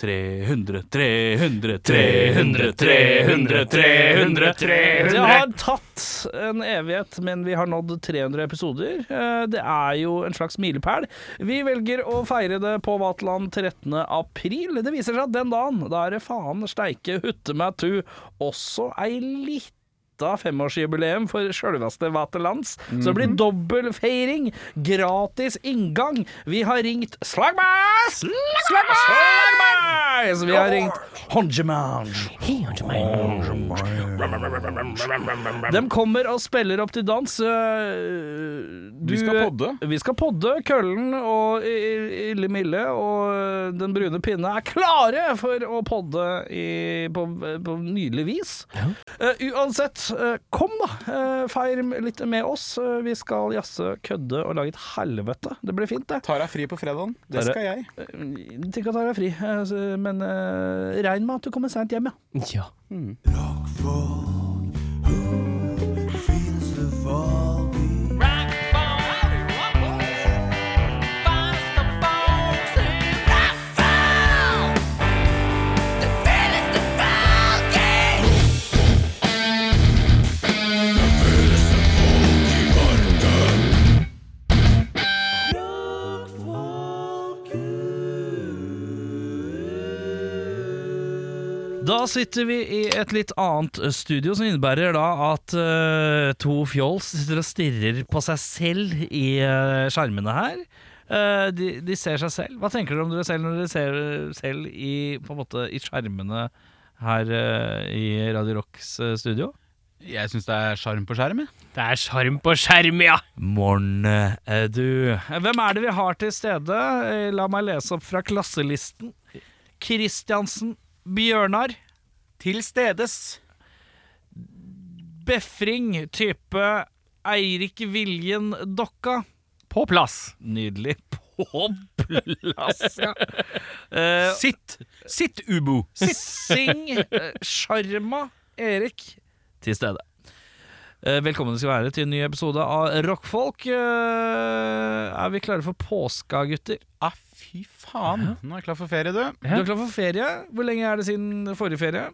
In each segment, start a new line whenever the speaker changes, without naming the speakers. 300, 300, 300, 300, 300, 300
Det har tatt en evighet, men vi har nådd 300 episoder. Eh, Det er jo en slags milepæl. Vi velger å feire det på Vaterland 13. april. Det viser seg at den dagen, da er det faen steike hutte meg tu, også ei lita femårsjubileum for sjølveste Vaterlands. Så det blir dobbel feiring, gratis inngang. Vi har ringt Slagmas! Slagmas! Slagmas! Vi har ringt Honjemange. De kommer og spiller opp til dans. øh, du-
Vi skal podde.
Vi skal podde. Køllen og I- I- Ille Mille og øh, Den brune pinne er klare for å podde i, på, på nydelig vis. Eh, uansett, eh, kom da. eh, feir litt med oss. Eh, vi skal jazze, kødde og lage et helvete. Det blir fint, det.
Tar deg fri på fredagen. Det
Tara-
skal jeg.
Eh, Tenk at jeg er fri, eh, så- men eh, regn med at du kommer seint hjem, ja.
Ja.
Da sitter vi i et litt annet eh, studio, som innebærer da at eh, to fjols sitter og stirrer på seg selv i eh, skjermene her. Eh, de, de ser seg selv. Hva tenker dere om dere selv når dere ser dere selv i, på en måte, i skjermene her eh, i Radio Rocks eh, studio?
Jeg syns det er sjarm på skjerm.
Det er sjarm på skjerm, ja.
Morn, eh, du. Hvem er det vi har til stede? Eh, La meg lese opp fra klasselisten. Kristiansen. Bjørnar.
Til stedes.
Befring type Eirik Viljen Dokka.
På plass.
Nydelig. På plass, ja. Eh,
Sitt! Sitt, Ubo!
Sing eh, Sjarma Erik til stede. Eh, Velkommen skal være til en ny episode av Rockfolk. Eh, Er vi klare for påska, gutter?
Ah, fy faen. Nå er jeg klar for ferie, du.
Du er klar for ferie? Hvor lenge er det siden forrige ferie?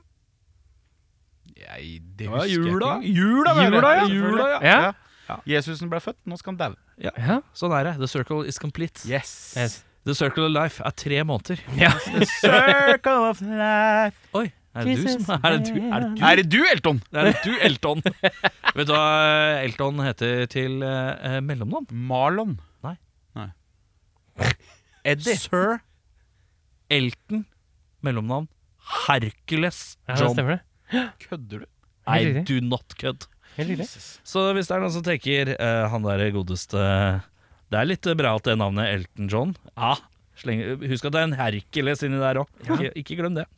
Jeg, det
Ja,
husker jeg
jula.
ikke engang. Jula, var
Jula,
det.
ja.
Selvfølgelig.
Jula, ja.
Ja.
Ja. Jesusen ble født, nå skal han daue.
Ja.
Sånn er det. The circle is complete.
Yes.
Yes.
The circle of life er tre måneder.
ja.
Circle of life.
Oi, er det du
Jesus.
som Er det du? Er det du?
Er det du, Elton?
Det er du, Elton. Vet du hva Elton heter til eh, mellomnavn?
Marlon.
Eddie. Sir Elton. Mellomnavn Hercules
ja, det
John.
stemmer det.
Kødder du?
I
Helt riktig.
do not cut.
Helt riktig.
Jesus.
Så hvis det er noen som tenker eh, han der godeste Det er litt eh, bra at det navnet er Elton John. Ja, sleng, Husk at det er en Hercules inni der òg. Ikke, ikke glem det.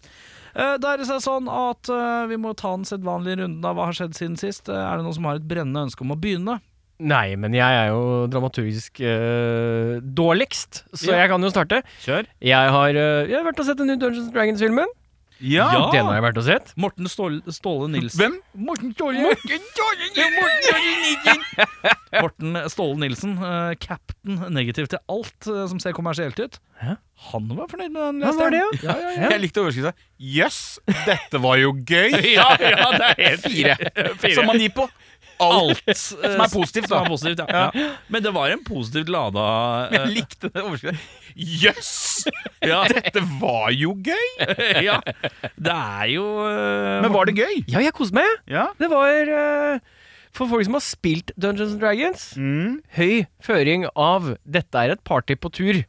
Eh, Da er det seg sånn at eh, vi må ta den sedvanlige runden av hva har skjedd siden sist. Eh, Er det noen som har et brennende ønske om å begynne?
Nei, men jeg er jo dramaturgisk eh, dårligst, så
Ja.
jeg kan jo starte.
Kjør.
Jeg har, eh, jeg har vært og sett den nye Dungeons Dragons-filmen.
Ja.
Ja.
Den har jeg vært og sett.
Morten Ståle, Ståle Nilsen.
Hvem?
Morten Ståle Morten Ståle Nilsen, eh, captain negativ til alt eh, som ser kommersielt ut.
Hæ?
Han var fornøyd med den.
Han
leste
var det,
jeg.
ja.
ja, ja,
Jeg likte overskriften. Jøss, yes, dette var jo gøy!
ja. ja, ja, det er helt
Fire. Som man gir på alt.
alt eh, som
er positivt, da.
er positivt, ja. ja. Men det var en positivt lada eh,
Jeg likte det overskriften. Jøss, yes,
ja,
dette var jo gøy!
ja. Det er jo eh,
Men var det gøy?
Ja, jeg koste meg.
Ja.
Det var eh, For folk som har spilt Dungeons Dragons,
Mm.
høy føring av 'dette er et party på tur'.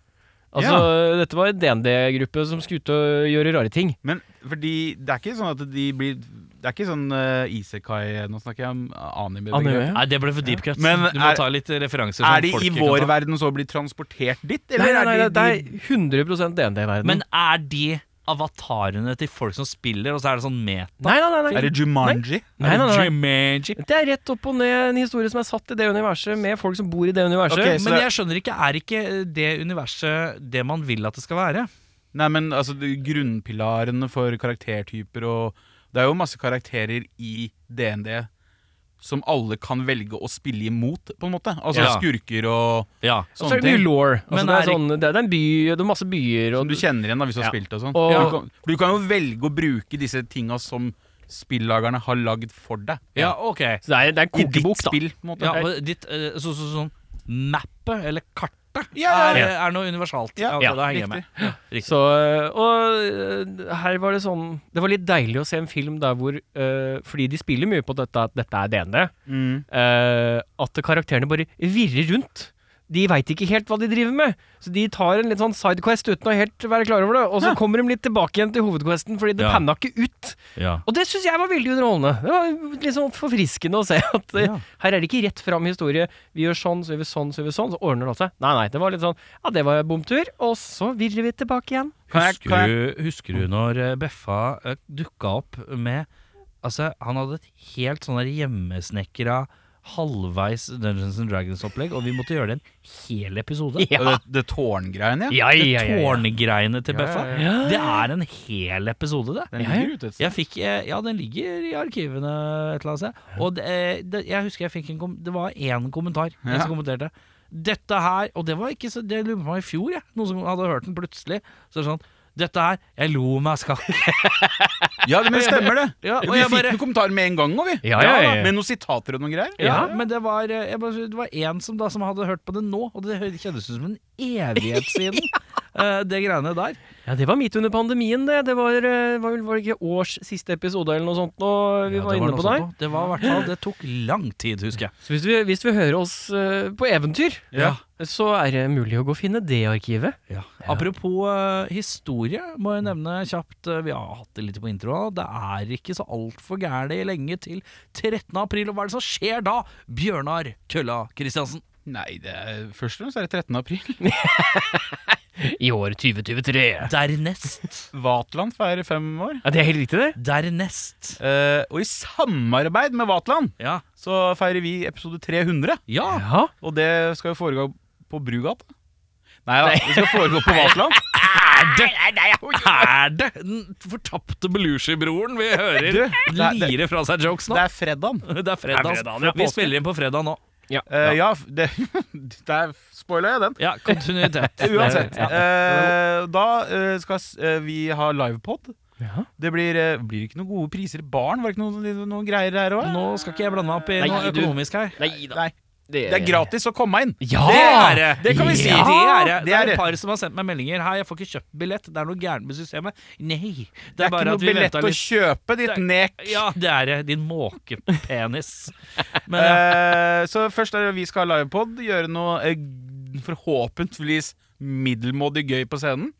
Altså, dette var en DND-gruppe som skulle ut og gjøre rare ting.
Men fordi det er ikke sånn at de blir Det er ikke sånn uh, Isekai Nå snakker jeg om anime.
Anime.
Nei, det ble for deep cut.
Men
du må
er-
ta litt referanser. som
Er sånn de
folk
i
ikke
vår
kan ta.
verden så blir transportert dit?
Nei,
Eller
nei, nei,
er de,
det er 100 DND-verden.
Men er de avatarene til folk som spiller, og så er det sånn meta?
Nei, nei, nei, nei.
Er det Jumanji?
nei, nei, nei.
Jumanji?
Det er rett opp og ned en historie som er satt i det universet, med folk som bor i det universet.
Ok, så
Men
det-
jeg skjønner ikke, er ikke eh, det universet det man vil at det skal være?
Nei, men altså det- grunnpilarene for karaktertyper og Det er jo masse karakterer i DND som alle kan velge å spille imot, på en måte. Altså
Ja.
skurker og
Ja.
Så
sånne
er det mye
ting.
law. Altså,
Men
det, er
er-
sånn, det, er, det er en by, det er masse byer
Som
og
du kjenner igjen da, hvis du har
Ja.
spilt og sånn.
Og-
Du, kan- du kan jo velge å bruke disse tinga som spillagerne har lagd for deg.
ja, ok.
Så det er, det er en
I ditt
kokebok, da.
spill, på en måte.
Ja, og ditt eh, så, så, sånn mappet, eller kartet,
Ja, ja,
er,
ja.
er noe universalt.
Ja,
ok,
ja,
da henger jeg
riktig.
med.
Så, øh, og øh, her var det sånn Det var litt deilig å se en film der hvor øh, Fordi de spiller mye på dette at dette er DND,
Mm.
øh, at karakterene bare virrer rundt. De veit ikke helt hva de driver med, så de tar en litt sånn sidequest uten å helt være klar over det. Og så kommer de litt tilbake igjen til hovedquesten, fordi det
Ja.
panna ikke ut. Og det syns jeg var veldig underholdende. Det var liksom forfriskende å se at eh,
Ja.
her er det ikke rett fram historie. Vi gjør sånn, så gjør vi sånn, så gjør vi sånn, så ordner det seg. Nei, nei, det var litt sånn Ja, det var bomtur, og så virrer vi tilbake igjen.
Kan jeg,
Husker,
kan jeg,
du, husker du når eh, Beffa eh, dukka opp med Altså, han hadde et helt sånn der hjemmesnekra halvveis Dungeons and Dragons-opplegg, og vi måtte gjøre det en hel episode.
Ja.
det, det tårngreiene, ja?
Ja, ja, ja, ja.
Tårngreiene til
Ja,
Beffa.
ja,
ja.
Det er en hel episode, det.
Den
Ja,
ligger ute et sted.
Jeg fikk, eh, ja, den ligger i arkivene et eller annet sted. Og det, eh, det, jeg husker jeg fikk en kom, det var én kommentar. En
Ja.
som kommenterte. Dette her Og det var ikke så Det lurer på meg i fjor, jeg. Noen som hadde hørt den plutselig. Så er det sånn Dette her Jeg lo meg skakk.
Ja, men det stemmer det.
Ja, og
vi
jeg
fikk
bare-
noen kommentarer med en gang òg, vi.
Ja, ja, ja.
da, Med noen sitater og noen greier.
Ja, men det var eh, jeg bare, Det var én som, da, som hadde hørt på det nå, og det hø- kjennes ut som en evighet siden. eh, det greiene der.
Ja, det var midt under pandemien, det. Det var, eh, var, vel- var det ikke års siste episode eller noe sånt nå vi
Ja,
var
det
inne
noe
på
sånt
der?
nå. Det var i hvert fall Det tok lang tid, husker jeg.
Så hvis vi, hvis vi hører oss eh, på eventyr,
Ja.
så er det mulig å gå og finne det arkivet.
Apropos eh, historie, må jeg nevne kjapt. eh, vi har hatt det litt på introen. Det er ikke så altfor gærent lenge til 13. april. Og hva er det som skjer da? Bjørnar Kølla Kristiansen.
Nei, det er, først og fremst er det 13. april.
I år 2023.
Dernest.
Vatland feirer fem år.
Ja, det er helt riktig, det.
Dernest.
Eh, og i samarbeid med Vatland
Ja.
så feirer vi episode 300.
Ja.
Ja.
Og det skal jo foregå på Brugata. Nei da, det skal foregå på Vatland.
Er det den fortapte Belushi-broren vi hører
Du, det er- det-
lire fra seg jokes
Det
nå?
er fredagen.
Det er fredag.
Det er fredag, det er
vi
påske.
spiller inn på fredag nå.
Eh, ja, det, der spoila jeg den.
Ja, kontinuitet.
Uansett.
Ja.
eh, da eh, skal s- eh, vi ha livepod.
Ja.
Det blir, eh, blir ikke noen gode priser i baren? Var det ikke noen, noen greier her òg?
Nå skal ikke jeg blande meg opp i
Nei,
noe
du-
økonomisk her.
Nei da.
Nei. Det er gratis å komme inn.
Ja!
Det er det!
Det kan vi si.
Ja, det er det. Det
er
er
det.
et par som har sendt meg meldinger. Hei, jeg får ikke kjøpt billett. Det er noe gærent med systemet. Nei. Det er,
Det er ikke
bare
noe
at vi
billett
venta
å
litt.
kjøpe, ditt
Det er-
nek.
Ja, det er det. Din måkepenis. Men ja.
Eh, så først er det vi skal ha livepod, gjøre noe eh, forhåpentligvis middelmådig gøy på scenen.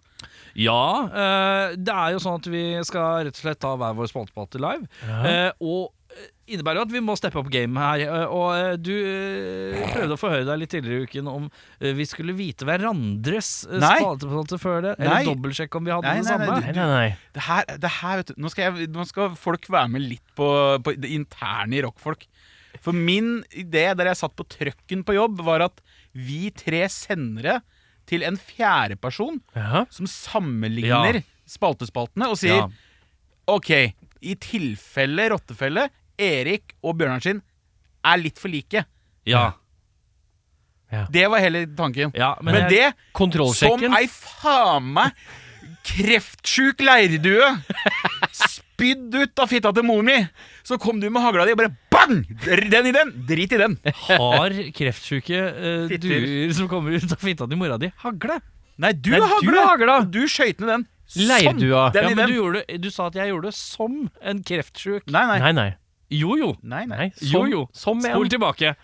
ja eh, det er jo sånn at vi skal rett og slett ta hver vår spaltepate live. Eh, og eh, innebærer jo at vi må steppe opp gamet her. Eh, og eh, du eh, prøvde å forhøre deg litt tidligere i uken om eh, vi skulle vite hverandres uh,
Nei.
spalteplate før det.
Nei.
Eller dobbeltsjekke om vi hadde
Nei,
det
nei, nei,
samme.
Nei, nei, nei.
Det her, det her vet du Nå skal, jeg, nå skal folk være med litt på, på det interne i rockfolk. For min idé der jeg satt på trøkken på jobb, var at vi tre sendere til en fjerde person
Ja.
som sammenligner
Ja.
spaltespaltene og sier
Ja.
OK, i tilfelle rottefelle, Erik og Bjørnar sin er litt for like.
Ja,
Det var hele tanken.
ja, men,
Men
jeg-
det Som
Kontrollsjekken.
ei faen meg kreftsjuk leirdue spydd ut av fitta til mor mi. Så kom du med hagla di og bare bang! Den i den! Drit i den.
Har kreftsjuke uh,
Fitter.
duer som kommer ut av fitta til mora di, hagle?
Nei, du
Nei,
har
du
hagla!
har hagla.
Og Du skøyt ned den. Sånn!
Leirdua.
Ja,
Den i
men
den.
du, gjorde, det- du sa at jeg gjorde det som en kreftsjuk.
Nei, nei.
Nei, nei.
Jo jo.
nei, nei.
nei.
Jo,
Som-
jo.
Som en
Spol tilbake.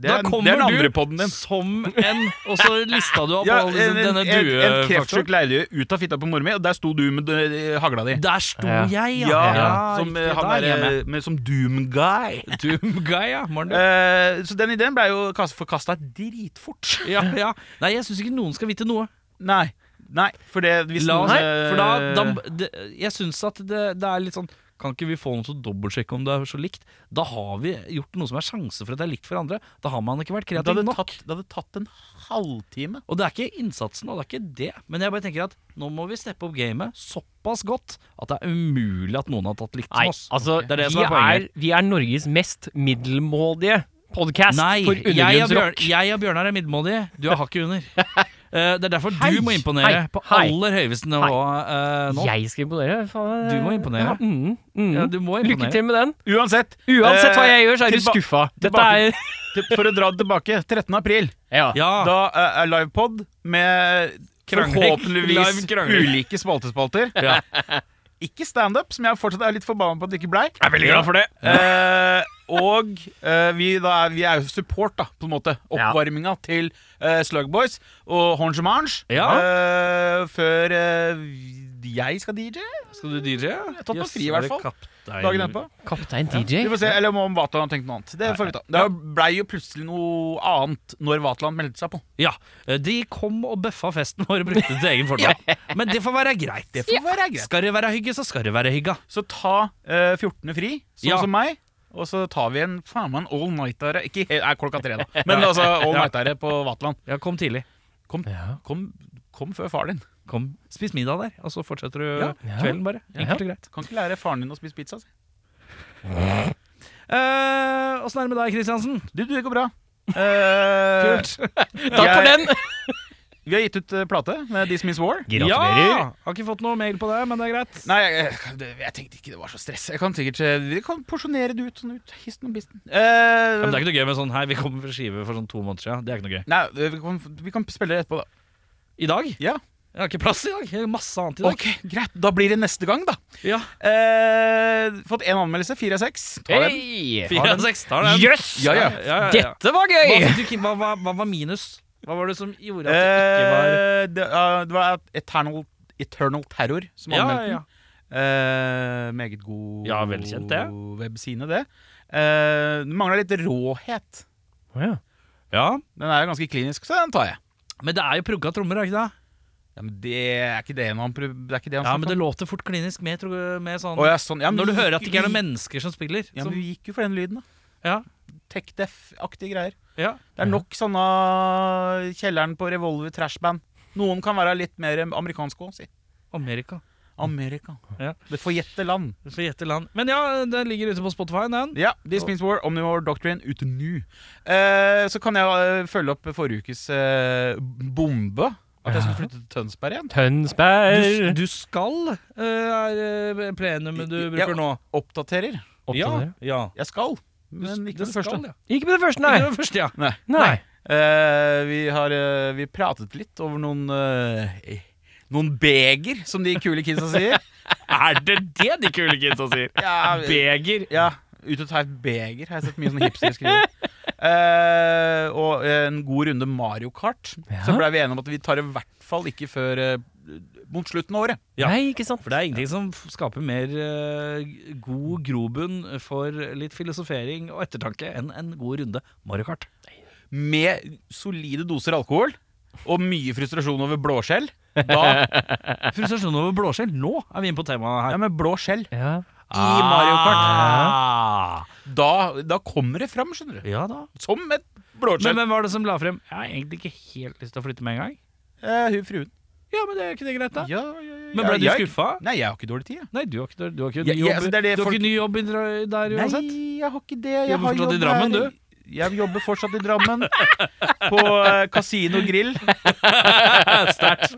Det, er,
da kommer
det er den
du
andre podden din.
som en Og så lista du opp
Ja,
alle
en,
disse,
en,
altså, denne
en, en
duefaktoren.
kreftsjuk leirdue ut av fitta på mor mi, og der sto du med eh, hagla di.
Der sto
Ja.
jeg, ja.
Ja,
Ja,
som, eh,
riktig,
han
da er
der,
jeg
eh,
med.
med, som doom guy.
Doom guy, ja. Morn, du.
Eh, så den ideen ble jo kast- forkasta dritfort.
ja, ja. Nei, jeg syns ikke noen skal vite noe.
Nei. Nei, for det hvis
La
noen,
oss,
eh,
for da, da det, Jeg syns at det, det er litt sånn Kan ikke vi få noen til å dobbeltsjekke om det er så likt? Da har vi gjort noe som er sjanse for at det er likt for andre. Da har man ikke vært
Det
kreativ
hadde,
nok.
tatt, det hadde tatt en halvtime.
Og det er ikke innsatsen, og det er ikke det. Men jeg bare tenker at nå må vi steppe opp gamet såpass godt at det er umulig at noen har tatt likt
Nei,
som oss.
altså,
Det er det som
vi,
er poenget.
er, vi er Norges mest middelmådige podcast
Nei,
for
jeg og, Bjørn,
undergrunnsrock.
jeg og Bjørnar er middelmådige. Du er hakket under. Eh, det er derfor
Hei,
du må imponere
hei,
på
hei.
aller høyeste nivå eh, nå.
Jeg skal imponere. Faen,
Du må imponere.
Ja, mm, mm.
Ja, du må
Lykke
imponere.
til med den.
Uansett.
Uansett hva
eh,
jeg gjør, så er du
tilba-
skuffa. Dette
tilbake-
er
til- For å dra det tilbake. 13. april.
ja.
Ja,
Da eh, er livepod med
Krangling.
forhåpentligvis
Live krangling.
ulike spaltespalter.
Ja.
Ikke standup, som jeg fortsatt er litt forbanna på at det ikke blei.
Jeg er veldig glad for det.
Eh, og eh, vi, da er, vi er jo support, da, på en måte. Oppvarminga til eh, Slugboys og Honge Mange. før eh, vi- jeg skal DJ
skal du DJ? Jeg
har tatt meg fri, i hvert fall. dagen etterpå.
Kaptein
Vi
DJ.
får se, Eller om Vatland har tenkt noe annet. Det får vi ta. Det blei jo plutselig noe annet når Vatland meldte seg på.
Ja. eh, De kom og bøffa festen vår og brukte det til egen fordel. Men det får være greit.
Det får være greit.
Skal det være hygge, så skal det være hygge.
Så ta eh, 14. fri, sånn
Ja.
som meg. Og så tar vi en faen meg en all-nightere. Ikke helt, er klokka tre, da. Men altså all-nightere på Vatland.
Ja, kom tidlig.
Kom, kom, kom før far din.
Kom, Spis middag der, og så fortsetter du
Ja.
kvelden, bare. Enkelt og greit.
Kan ikke lære faren din å spise pizza. si.
Eh, Åssen er det med deg, Kristiansen?
Du, du, det går bra. Eh,
Takk for den.
vi har gitt ut eh, plate med This Means War.
Ja! Har ikke fått noe mail på det, men det er greit.
Nei, jeg, det- jeg tenkte ikke det var så stress. Jeg kan sikkert eh, Vi kan porsjonere det ut sånn ut. Histen og bisten. Eh,
Ja, men det er ikke noe gøy med sånn Hei, vi kommer fra skive for sånn to måneder siden. Det er ikke noe gøy.
Nei, vi kan, vi kan spille det etterpå, da.
I dag?
Ja.
Jeg har ikke plass i dag. Jeg har masse annet i dag.
Ok, Greit. Da blir det neste gang, da.
Ja.
Eh, fått én anmeldelse. Fire av seks. Ta den.
Hei.
Fire av seks. Tar den.
Jøss!
Ja, ja.
ja.
Dette var
Hva,
gøy!
fikk du ikke- hva, hva, hva var minus? Hva var det som gjorde at det ikke var
Eh, det, ja, det var Eternal, Eternal Terror som
Ja,
anmeldte den.
ja.
Eh, meget god
Ja, velkjent, det.
webside, det. Eh, det mangla litt råhet.
ja.
Den er jo ganske klinisk, så den tar jeg.
Men det er jo progga trommer, er det ikke det?
Ja, men Det er ikke det han prøv- Det er ikke det han
Ja, men
snakker
det
om.
låter fort klinisk med, tro- med sånn
Å, ja, sånn. ja, men
Når du
vi
hører at
gikk
det
jo-
ikke er noen mennesker som spiller.
Ja, men
som,
Vi gikk jo for den lyden, da.
ja,
Tech Def-aktige greier.
ja.
Det er nok sånne eh, Kjelleren på Revolver trashband. Noen kan være litt mer amerikanske òg, si.
Amerika.
Amerika.
Ja.
Det forjette land.
Du får gjette land. Men ja, den ligger ute på Spotify, den.
Ja, This Means War, Omnivore Doctrine, ute nu. Eh, så kan jeg eh, følge opp forrige ukes eh, bombe. At jeg skulle flytte til Tønsberg igjen.
Du,
Tønsberg.
du skal, eh, er eh, plenumet du
Ja.
bruker nå.
Oppdaterer.
Ja, ja.
Jeg skal,
Du s-
men
det
ikke med det
skal,
første.
ja.
Ikke på det første,
Ikke
nei.
det første, ja.
Nei.
Nei.
Eh, vi har eh, vi pratet litt over noen eh, noen beger, som de kule kidsa sier.
Er det det de kule kidsa sier?
Ja, vi-
Beger.
Ja, ut og ta et beger har jeg sett mye sånne hipstere skrive. Eh, og en god runde Mario Kart. Så
Ja.
blei vi enige om at vi tar det i hvert fall ikke før eh, mot slutten av året.
Ja.
Nei, ikke sant.
For det er ingenting som f- skaper mer eh, god grobunn for litt filosofering og ettertanke enn en god runde Mario Kart.
Med solide doser alkohol og mye frustrasjon over blåskjell. Da,
Frustrasjon over blåskjell. Nå er vi inne på temaet her.
ja, med blåskjell i
Ja.
Mario Kart.
Ah.
Da, da kommer det fram, skjønner du.
Ja da.
Som et
Men
blåskjell.
hvem var det som la frem Jeg har egentlig ikke helt lyst til å flytte med en gang.
Eh, hun fruen.
Ja, men det er ikke det greit, da?
Ja, ja, ja,
Men ble du
ja, jeg-
skuffa?
Nei, jeg har ikke dårlig tid. Jeg.
Nei, du har ikke, du har ikke ny
Ja, ja,
jobb,
altså, det er det
du har
folk-
ikke ny jobb i dra- der uansett?
Nei, jeg har ikke det. Jeg
Jobber
har
fortsatt i
jobb
Drammen,
her.
du?
Jeg jobber fortsatt i Drammen. På eh, Casino Grill.
Sterkt.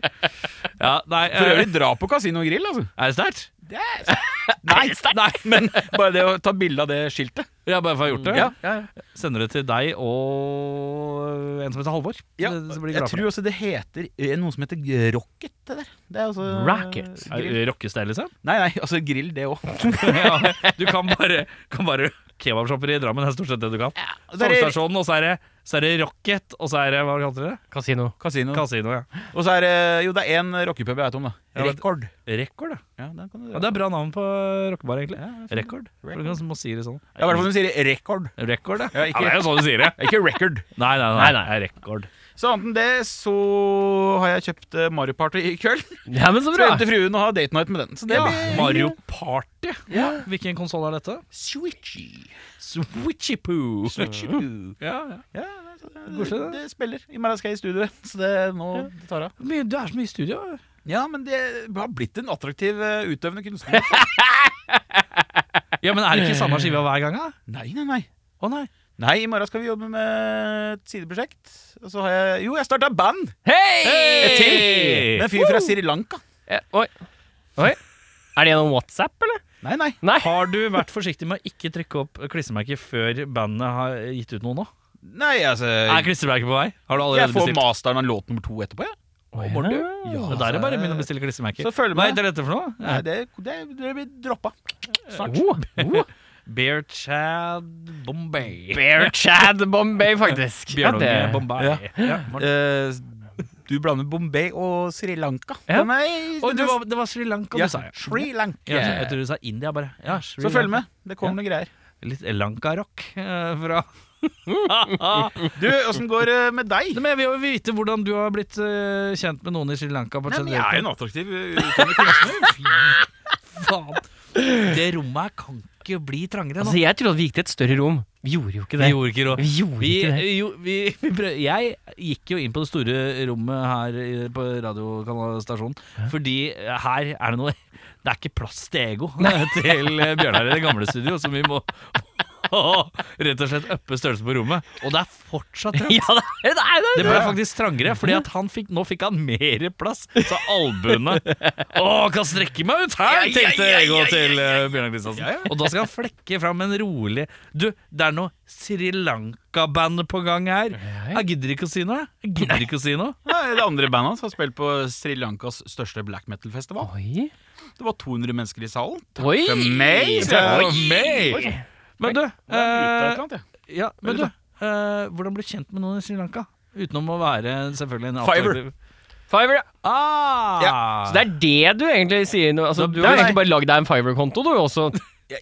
Ja, nei,
For
eh,
øvrig, dra på Casino Grill, altså.
er det sterkt?
Nei, nei, men bare det å ta bilde av det skiltet.
Ja, bare for å ha gjort det?
Ja, ja, ja.
Sender det til deg og en som heter Halvor. Det- så blir de
jeg
glad for
tror også det heter eh, noe som heter Rocket. Det der. Det er altså
Racket?
det. Er det Rockes det, liksom?
Nei, nei, altså grill, det òg.
ja, du kan bare, kan bare Kebabshopper i Drammen er stort sett det du kan. Togstasjonen, og så er det så er det Rocket, og så er det hva kalte dere det?
Kasino.
Casino.
Kasino, ja.
Og så er det Jo, det er én rockepub jeg vet om, da.
Ja, det-
Rekord.
Rekord, ja.
Ja, den kan du
ja. Det er bra navn på rockebar, egentlig.
Ja,
Rekord.
Rekord.
Hvordan må si det sånn?
Ja, I hvert fall når du sier rekord.
Rekord, ja.
Ja,
ja.
ikke-
Det er jo sånn du sier det.
Ikke record.
Nei, nei, nei.
Nei, nei.
det er Rekord.
Så annet enn det så har jeg kjøpt eh, Mario Party i kveld.
Ja, men så
Så
bra!
henter fruen og har date night med den. Så det
Ja,
blir
Mario Party. Hvilken konsoll er dette?
switchy.
Switchipoo.
Switchy.
Ja, ja.
Ja, så det,
Koselig, det.
det spiller. I morgen skal jeg i studio, så det nå det tar av.
Men Du er så mye i studio.
Ja, men det har blitt en attraktiv eh, utøvende kunstner.
Ja, men Er det ikke samme skiva hver gang? da?
nei, nei, nei.
Å nei.
Nei, i morgen skal vi jobbe med et sideprosjekt. Og så har jeg Jo, jeg starta band!
Hei!
Et til! Med en fyr fra Sri Lanka.
Eh, Oi. Oi. Er det gjennom WhatsApp, eller?
Nei, nei.
Nei.
Har du vært forsiktig med å ikke trykke opp klistremerket før bandet har gitt ut noe nå?
Nei, altså
Er klistremerket på vei? Har du
Jeg
allerede
får
bestilt?
masteren av låt nummer to etterpå, ja.
Å,
Må du?
Ja,
Men Da
altså.
er det
så-
bare å begynne å bestille klistremerker.
Så følg
Hva
med.
heter dette for noe? Eh,
Nei, det, det, det blir droppa. Snart.
Oh, oh.
Bear Chad Bombay.
Bear Chad Bombay, faktisk. Ja,
Bjørnunge
det-
Bombay.
Ja.
Ja, Morten.
Eh, du blander Bombay og Sri Lanka.
Ja.
Den er-
Oi, det, var, det var Sri Lanka
ja,
du sa, ja.
Sri Lanka.
Ja, så- jeg tror du sa India, bare. Ja, Sri
Så følg
Lanka.
med. Det kommer noen greier.
Litt Lanka-rock eh, fra
Du, åssen går det med deg?
Nei, Men Jeg vil jo vite hvordan du har blitt eh, kjent med noen i Sri Lanka. på et
Nei, men
generelt
jeg er jo en attraktiv eh, utøvende kunstner.
Faen. Det rommet her kan ikke bli trangere nå.
Altså, jeg trodde vi gikk til et større rom. Vi gjorde jo ikke
Vi
det.
gjorde ikke det.
Vi gjorde
Vi,
ikke det.
jo, vi, vi prøv, jeg gikk jo inn på det store rommet her i- på radiokanalstasjonen, fordi her er det noe Det er ikke plass til ego til eh, Bjørnar i det gamle studio, så vi må rett og slett uppe størrelsen på rommet. Og det altså. er fortsatt trangt.
Ja, det, det, det, det,
Det ble faktisk trangere, fordi at han fikk, nå fikk han mer plass. Så albuene Å, kan strekke meg ut her, tenkte Ego til eh, Bjørnar Kristiansen. Og da skal han flekke fram en rolig Du, det er noe Sri Lanka-band på gang her. Jeg gidder ikke å si noe. Jeg gidder ikke å si noe.
Nei, Det andre bandet hans har spilt på Sri Lankas største black metal-festival.
Oi.
Det var 200 mennesker i salen.
Oi.
For meg,
Oi.
så jeg-
meg! Men du,
Det var ut av et eller
eh,
annet, ja.
ja, men du eh, hvordan bli kjent med noen i Sri Lanka? Utenom å være selvfølgelig en
Fiverr.
attraktiv-
Fiverr, ja.
Ah,
Så det er det du egentlig sier nå? Altså, du
det
har
er
egentlig bare lagd deg en Fiverr-konto, du også.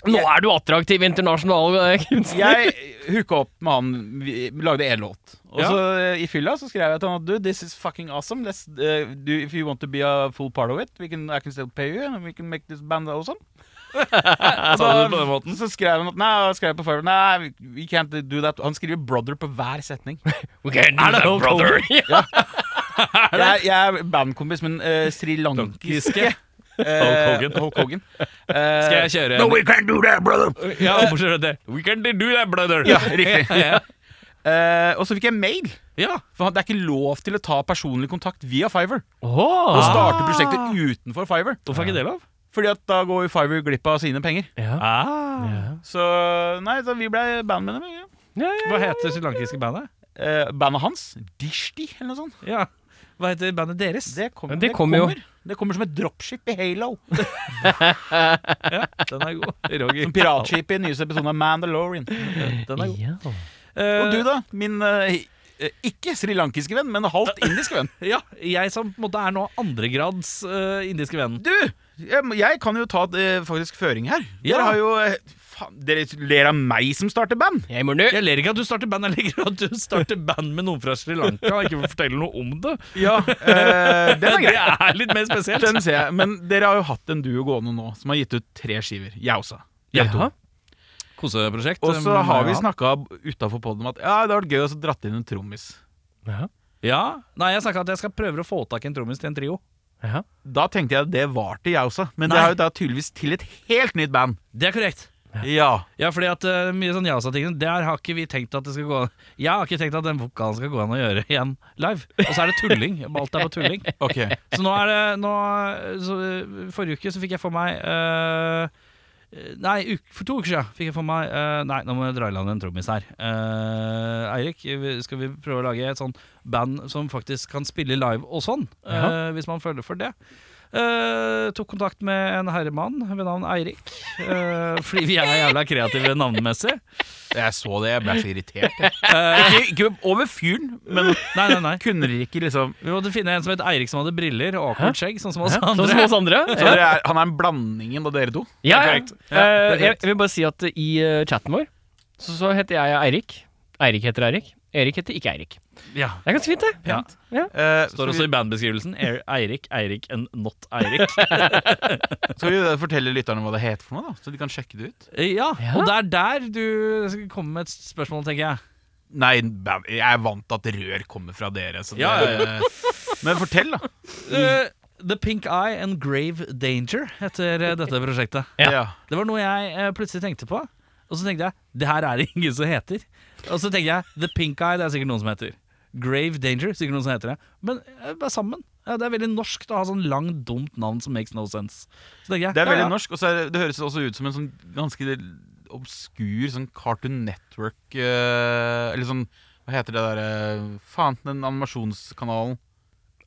Nå er du attraktiv internasjonal eh, kunstner.
Jeg hooka opp med han, vi lagde én låt. Og
Ja.
så eh, i fylla så skrev jeg til han at du, this is fucking awesome. Let's, eh, do, if you want to be a full part of it, we can, I can still pay you. And we can make this band awesome. Og
Sa du det på den måten?
så skrev han at nei, og skrev på Fiverr, nei, we can't do that. Han skriver brother på hver setning.
Er det Hulk Hogan?
Jeg, jeg er bandkompis, men uh, srilankiske
Lankiske. Hulk Hogan.
Hulk Hogan. Eh,
Skal jeg kjøre
No, we can't do that, brother!
Ja, morsomt det. We can do that, brother.
Ja, riktig.
ja.
Eh, og så fikk jeg mail.
ja.
For han- det er ikke lov til å ta personlig kontakt via Fiverr.
Åh.
Ah.
Og starte prosjektet utenfor Fiverr.
Hvorfor er ikke det lov?
Fordi at da går jo Fiverr glipp av sine penger.
Ja.
Ah.
Ja.
Så nei, så vi ble bandmedlemmer. Ja.
Ja, ja.
Hva heter srilankiske bandet?
Eh, bandet hans, Dishti, eller noe sånt.
Ja. Hva heter bandet deres?
Det, kom,
Ja, det kommer jo.
Det kommer som et dropship i Halo.
Ja, den er god. Roger.
Som piratskipet i nyeste episode av Mandalorian.
Den er god.
Ja.
Og du, da? Min eh, eh, ikke srilankiske venn, men halvt indiske venn.
Ja, jeg som på en måte er nå andregrads eh, indiske venn.
Du, jeg, må- jeg kan jo ta eh, faktisk føring her.
Ja.
Dere har jo eh, faen, Dere ler av meg som starter band.
Jeg må nå.
Jeg ler ikke at du starter band, jeg liker at du starter band med noen fra Sri Lanka og ikke forteller noe om det.
Ja, eh, den er
Det
grei.
er litt mer spesielt.
Den ser jeg. Men dere har jo hatt en duo gående nå som har gitt ut tre skiver. Jeg også.
Ja.
Koseprosjekt. Um,
Og så har vi
ja.
snakka utafor poden om at ja, det hadde vært gøy å så dratt inn en trommis.
Ja.
Ja. Nei, jeg snakka at jeg skal prøve å få tak i en trommis til en trio.
Ja.
Da tenkte jeg at det var til jeg også, men det
Nei.
er jo da tydeligvis til et helt nytt band.
Det er korrekt.
Ja.
Ja, fordi at eh, mye sånn ja-sa-tingene Der har ikke vi tenkt at det skal gå an Jeg har ikke tenkt at den vokalen skal gå an å gjøre igjen live Og så er det tulling Alt er på tulling
Ok.
Så nå er det nå, så, eh, Forrige uke så fikk jeg for meg eh, eh, Nei, uke, for to uker siden Fikk jeg for meg eh, Nei, nå må jeg dra i land en trommis her Eh, Eirik, vi- skal vi prøve å lage et sånn band Som faktisk kan spille live og sånn eh, Hvis man føler for det Eh, tok kontakt med en herremann ved navn Eirik. eh, fordi vi er jævla kreative navnmessig.
Jeg så det, jeg ble så irritert. jeg. Ikke, ikke over fyren, men
Nei, nei, nei.
kunne dere ikke liksom
Vi måtte finne en som het Eirik som hadde briller og awkward skjegg, sånn som oss
Sånn
andre.
som oss andre.
så dere er, Han er en blandingen av dere to?
Ja, ja.
Korrekt.
Eh, jeg,
korrekt.
jeg vil bare si at eh, i eh, chatten vår så, så heter jeg Eirik. Eirik heter Eirik. Erik heter ikke Eirik.
Ja.
Det er ganske fint, det.
Pent.
Ja.
Eh,
Står
så vi-
også i bandbeskrivelsen. Er- Eirik, Eirik and not Eirik.
Skal vi da fortelle lytterne hva det heter for noe, da? Så de kan sjekke det ut?
Eh, Ja,
Ja.
og det er der du skal komme med et spørsmål, tenker jeg.
Nei, bam, jeg er vant til at rør kommer fra dere. Så det,
Ja,
Men fortell, da.
Eh, The Pink Eye and Grave Danger heter eh, dette prosjektet.
Ja.
Det var noe jeg eh, plutselig tenkte på. Og så tenkte jeg det her er det ingen som heter. Og så tenkte jeg The Pink Eye, det er sikkert noen som heter. Grave Danger, sikkert noen som heter det. Men eh, bare sammen. Ja, det er veldig norsk å ha sånn langt, dumt navn som makes no sense. Så tenkte jeg,
Det er veldig
ja, ja.
norsk, og så er, det- det høres også ut som en sånn ganske obskur sånn Cartoon Network eh, Eller sånn Hva heter det derre Faen, den animasjonskanalen.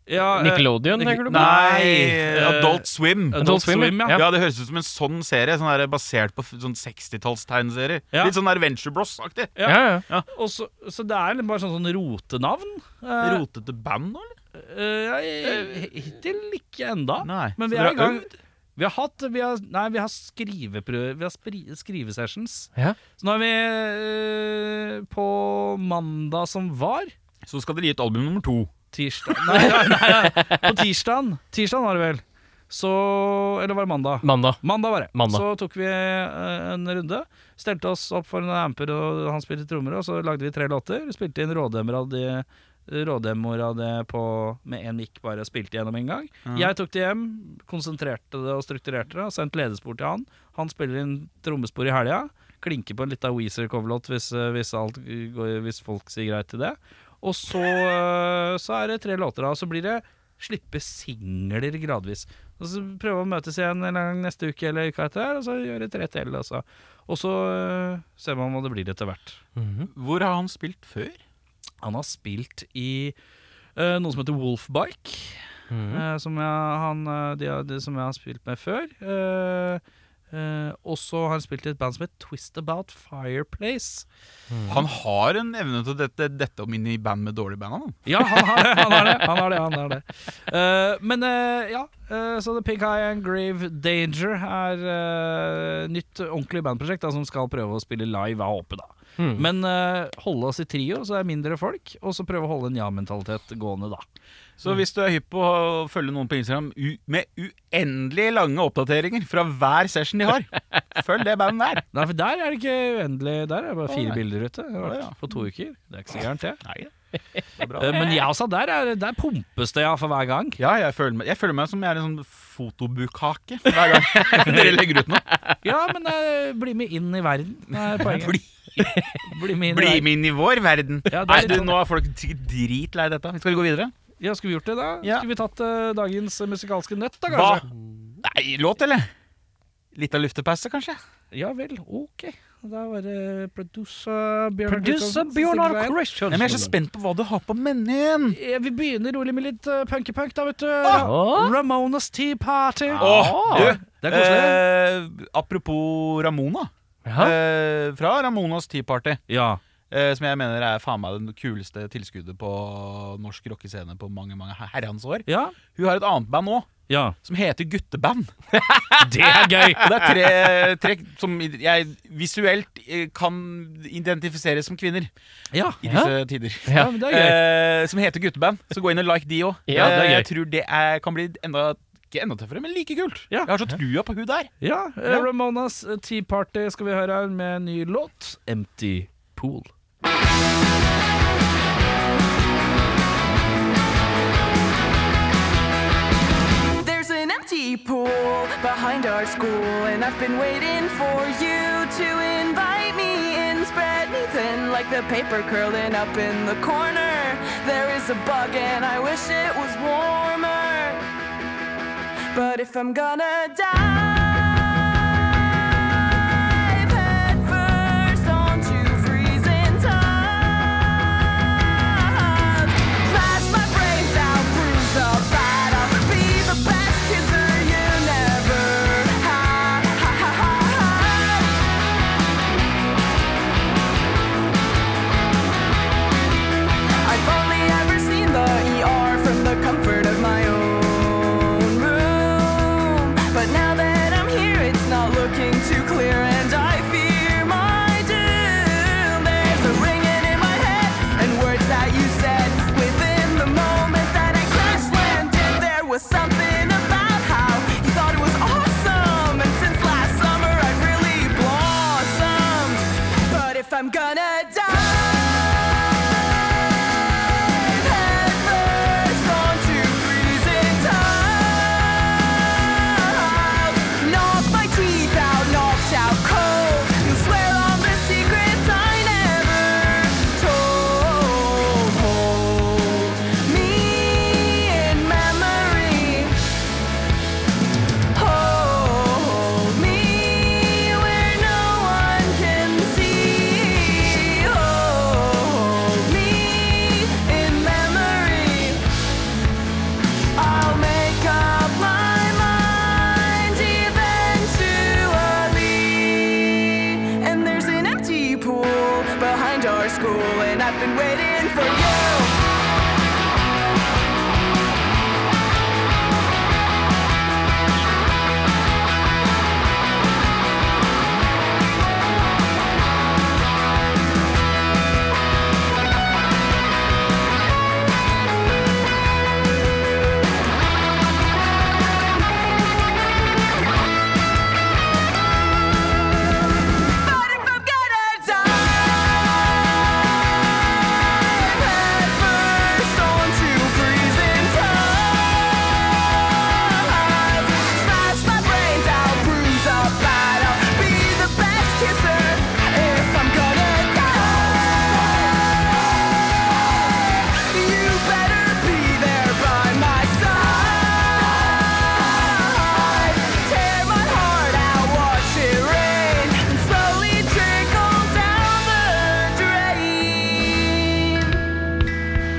Ja, eh,
Nickelodeon,
Nic-
tenker du på?
Nei,
eh,
eh,
Adult Swim.
Adult Swim, ja.
Ja, Det høres ut som en sånn serie, sånn der, basert på f- sånn 60-tallstegneserie.
Ja.
Litt sånn Adventure Bros-aktig.
Ja.
Ja, ja.
og så, så det er litt bare sånn, sånn rotenavn. Eh,
Rotete band nå, eller?
eh, jeg- Hittil ikke enda.
Nei.
Men
Så
vi
dere
er i
har
gang. Vi har hatt vi har, Nei, vi har skriveprøve Vi har spri, skrivesessions.
Ja.
Så nå er vi eh, på mandag som var.
Så skal dere gi ut album nummer to.
Tirsdag Nei, nei, nei, nei. på tirsdagen. Tirsdagen var det vel. Så Eller var det mandag?
Mandag.
Mandag var det.
Mandag.
Så tok vi eh, en runde. Stelte oss opp for en amper, og han spilte trommer. Og så lagde vi tre låter. Spilte inn rådemoer av det, rådemoer av det på, med én mic, bare spilte gjennom en gang. Jeg tok det hjem, konsentrerte det og strukturerte det. Sendte ledespor til han. Han spiller inn trommespor i helga. Klinker på en lita Weezer-coverlåt hvis, eh, hvis, alt går- hvis folk sier greit til det. Og så, eh, så er det tre låter da, og så blir det slippe singler gradvis. Og så prøve å møtes igjen en gang neste uke eller uka etter, her, og så gjøre tre til. Og så, og så eh, ser man hva det blir etter hvert.
Hvor har han spilt før?
Han har spilt i eh, noe som heter Wolfbike, eh, som, jeg, han, eh, de, har- de, som jeg har spilt med før. Eh, eh, og så har han spilt i et band som heter Twist About Fireplace. Mm.
Han har en evne til å dette, dette om inn i band med dårlig band. Han.
Ja, han har det, han har det, han har det, han har det. Eh, Men eh, ja, eh, så The Pink Eye and Grave Danger er eh, nytt ordentlig bandprosjekt da, som skal prøve å spille live, er håpet da.
Mm.
Men eh, holde oss i trio, så er mindre folk, og så prøve å holde en ja-mentalitet gående da.
Så hvis du er hypp på å følge noen på Instagram u med uendelig lange oppdateringer fra hver session de har, følg det bandet der.
Nei, for der er det ikke uendelig, der er det bare
Å,
fire
nei.
bilder ute Det har
Å,
vært
ja.
på to uker. Det er ikke så gærent det.
Nei.
Eh, Men ja, altså, der, er, det- der pumpes det ja for hver gang.
Ja, jeg føler, meg, jeg føler meg som jeg er en sånn fotobukhake hver gang dere legger ut noe.
Ja, men eh, bli med inn i verden, er poenget. Bli
Bli,
med inn i
bli
verden.
med inn i vår verden.
Ja, det er
Nei,
litt
du,
sånn.
nå er folk sikkert dritlei dette. Skal vi gå videre?
Ja, skulle vi gjort det da?
Ja.
Skulle vi tatt eh, dagens musikalske nøtt da,
Hva?
kanskje?
Nei, låt, eller? Litt av luftepasse, kanskje?
Ja vel, ok. Da var det producer Bjørnar
Producer
Kristiansen som
Bjørnar
sitter der.
Christiansen.
Nei, men jeg er så spent på hva du har på menyen.
Eh, Vi begynner rolig med litt uh, punkepunk, da, vet du.
Åh.
Ramonas Tea Party.
Åh, du,
Det er koselig.
Eh, apropos Ramona.
Ja.
Eh, fra Ramonas Tea Party.
ja.
Eh, som jeg mener er faen meg det kuleste tilskuddet på norsk rockescene på mange mange herrens år.
ja.
Hun har et annet band nå,
Ja.
som heter Gutteband.
Det er gøy.
Og det er tre trekk som jeg visuelt eh, kan identifiseres som kvinner
Ja.
i
Ja.
disse tider.
ja, men det er gøy.
Eh, som heter Gutteband. Så gå inn og like de òg.
Ja, det er gøy.
jeg tror det er, kan bli enda ikke enda tøffere, men like kult.
Ja.
Jeg har så trua på hun der.
Ja, eh, Ramonas Tea Party skal vi høre her med en ny låt, Empty Pool.
There's an empty pool behind our school, and I've been waiting for you to invite me in. Spread me thin like the paper curling up in the corner. There is a bug, and I wish it was warmer. But if I'm gonna dive head first onto freezing time. Smash my brains out, bruise up, bite up. Be the best kisser you never had. I've only ever seen the ER from the comfort of my own room. But now that I'm here, it's not looking too clear, and I fear my doom. There's a ringing in my head, and words that you said been waiting for you. But if I'm gonna die headfirst onto freezing time, smash my brains out, bruise up, but I'll be the best kisser if I'm gonna die. You better be there by my side. Tear my heart out, watch it rain, and slowly trickle down the drain.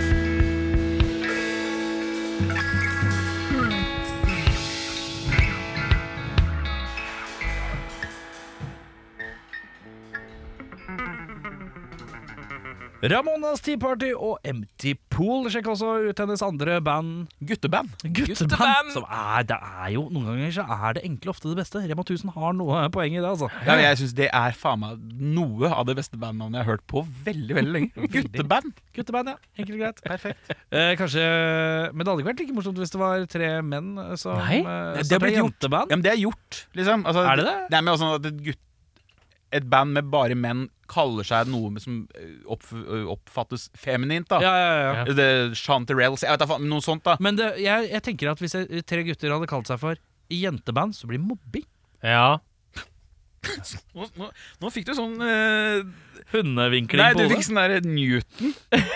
Ramonas Tea Party og Empty Pool. Sjekk også ut hennes andre band.
Gutteband.
Gutteband!
Som er, det er jo, Noen ganger så er det enkle ofte det beste. Rema 1000 har noe poeng i det, altså.
Ja, men jeg syns det er faen meg noe av det beste bandnavnet jeg har hørt på veldig veldig lenge. Gutteband.
Gutteband, ja. Enkelt og greit.
Perfekt.
Eh, kanskje Men det hadde ikke vært like morsomt hvis det var tre menn som
Nei,
eh,
det har
starta
blitt gjort.
jenteband.
Ja, men det er gjort, liksom. Altså,
Er det det?
Nei, men altså, at et, gutt, et band med bare menn kaller seg noe som eh, oppf oppfattes feminint, da.
Ja, ja, ja.
Ja.
Det, Chanterelles, jeg vet da faen, noe sånt, da.
Men det, jeg, jeg tenker at hvis jeg, tre gutter hadde kalt seg for jenteband, så blir det mobbing.
Ja.
Nå, nå, nå fikk du sånn eh,
Hundevinkling
Nei,
på
du
hodet.
fikk sånn der Newton.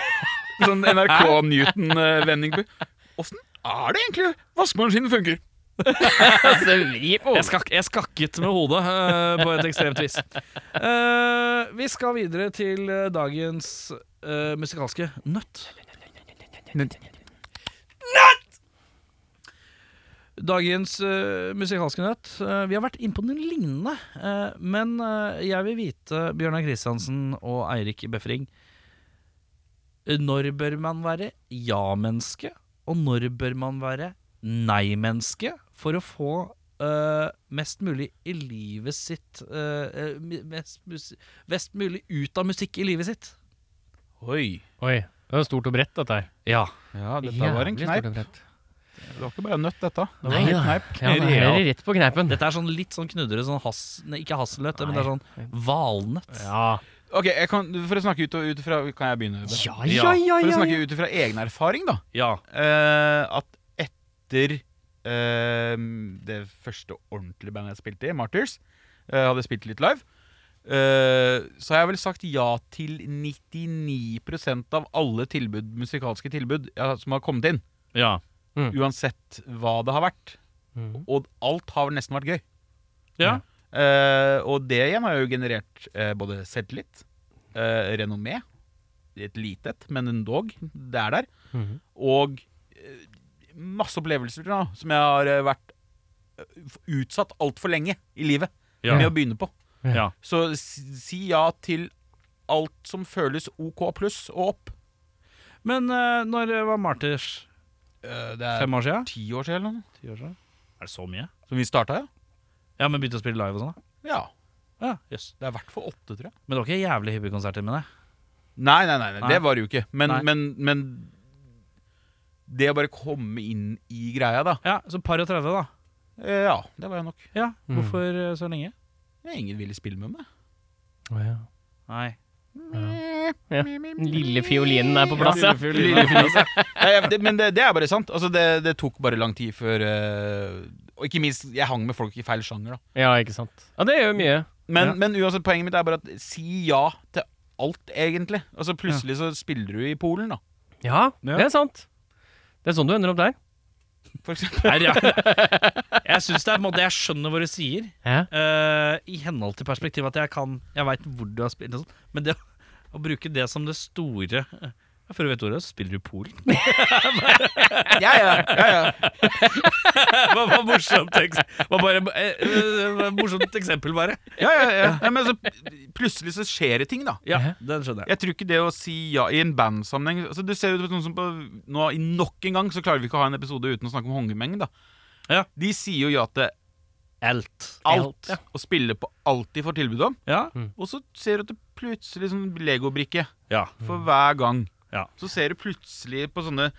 Sånn NRK-Newton-vending. Åssen er det egentlig vaskemaskinen funker?
Altså,
Jeg, skak, jeg skakket med hodet eh, på et ekstremt vis. Eh, vi skal videre til eh, dagens eh, musikalske nøtt. Dagens eh, musikalske nøtt. Eh, vi har vært inne på den lignende, eh, men eh, jeg vil vite, Bjørnar Kristiansen og Eirik Befring eh, Når bør man være ja-menneske, og når bør man være nei-menneske for å få eh, mest mulig i livet sitt eh, eh, mest, musi- mest mulig ut av musikk i livet sitt?
Oi.
Oi. Det var stort og bredt, dette her.
Ja.
Ja, dette var en
Jævlig
kneip.
stort og bredt.
Det var ikke bare nøtt, dette. Det var
Nei
en
da.
kneip.
Ja, det er rett på kneipen.
Dette er sånn litt sånn knudre, sånn has... Nei, ikke hasselnøtt, men det er sånn valnøtt.
Ja.
Ok, jeg kan, For å snakke ut, ut fra Kan jeg begynne?
Ja, ja, ja,
For å
ja,
snakke ut fra egen erfaring, da.
Ja.
eh, at etter eh, det første ordentlige bandet jeg spilte i, Martyrs, eh, hadde jeg spilt litt live, eh, så har jeg vel sagt ja til 99 av alle tilbud, musikalske tilbud ja, som har kommet inn.
ja.
Uansett hva det har vært.
Mhm.
Og alt har vel nesten vært gøy.
Ja.
Eh, og det igjen har jo generert eh, både selvtillit, eh, renommé Et lite et, men endog. Det er der.
Mhm.
Og eh, masse opplevelser da, som jeg har eh, vært eh, utsatt altfor lenge i livet
Ja.
med å begynne på.
Ja.
Så si si ja til alt som føles OK pluss og opp.
Men eh, når var Martyrs?
Eh, det er
Fem år siden?
ti år siden eller noe,
Ti år siden? Er det så mye?
som vi starta, ja.
Ja, men begynte å spille live og sånn? da?
Ja,
Ja, jøss.
Det er i hvert fall åtte, tror jeg.
Men det var ikke jævlig hyppige konserter med deg?
Nei, nei, nei, nei,
Nei.
det var det jo ikke. Men,
Nei.
men, men det å bare komme inn i greia, da.
Ja, så par og 30, da.
Eh, ja, det var jeg nok.
Ja,
Mm.
Hvorfor eh, så lenge?
Ingen ville spille med meg.
Å, ja.
Nei.
Ja. Den lille fiolinen er på plass, ja.
Lille fiolin, altså. Nei, jeg- det- Men det, det er bare sant. Altså, det, det tok bare lang tid før eh, Og ikke minst, jeg hang med folk i feil sjanger, da.
Ja, ikke sant. Ja, det gjør mye.
Men,
Ja.
men uansett, poenget mitt er bare at si ja til alt, egentlig. Altså Plutselig så spiller du i Polen, da.
Ja,
Ja.
det er sant. Det er sånn du ender opp der.
For eksempel.
Nei, ja. Jeg synes det er på en måte Jeg skjønner hva du sier,
Ja.
eh, i henhold til perspektivet at jeg kan Jeg veit hvor du har spilt, og sånn, men det å- å bruke det som det store eh, Før du vet ordet, så spiller du Polen.
Ja, ja, ja, ja.
Det var bare morsomt, eks- var bare, eh, eh, var morsomt eksempel, bare.
ja, ja, ja. Nei, men så, plutselig så skjer det ting, da.
Ja, den skjønner jeg.
Jeg tror ikke det å si ja i en bandsammenheng altså, Du ser jo sånn som på nå, i Nok en gang så klarer vi ikke å ha en episode uten å snakke om hongemeng. da
Ja.
De sier jo ja til
Alt.
alt, Mm. og spiller på alt de får tilbud om.
Ja.
Og så ser du at det plutselig sånn legobrikke
ja.
for hver gang.
Ja.
Så ser du plutselig på sånne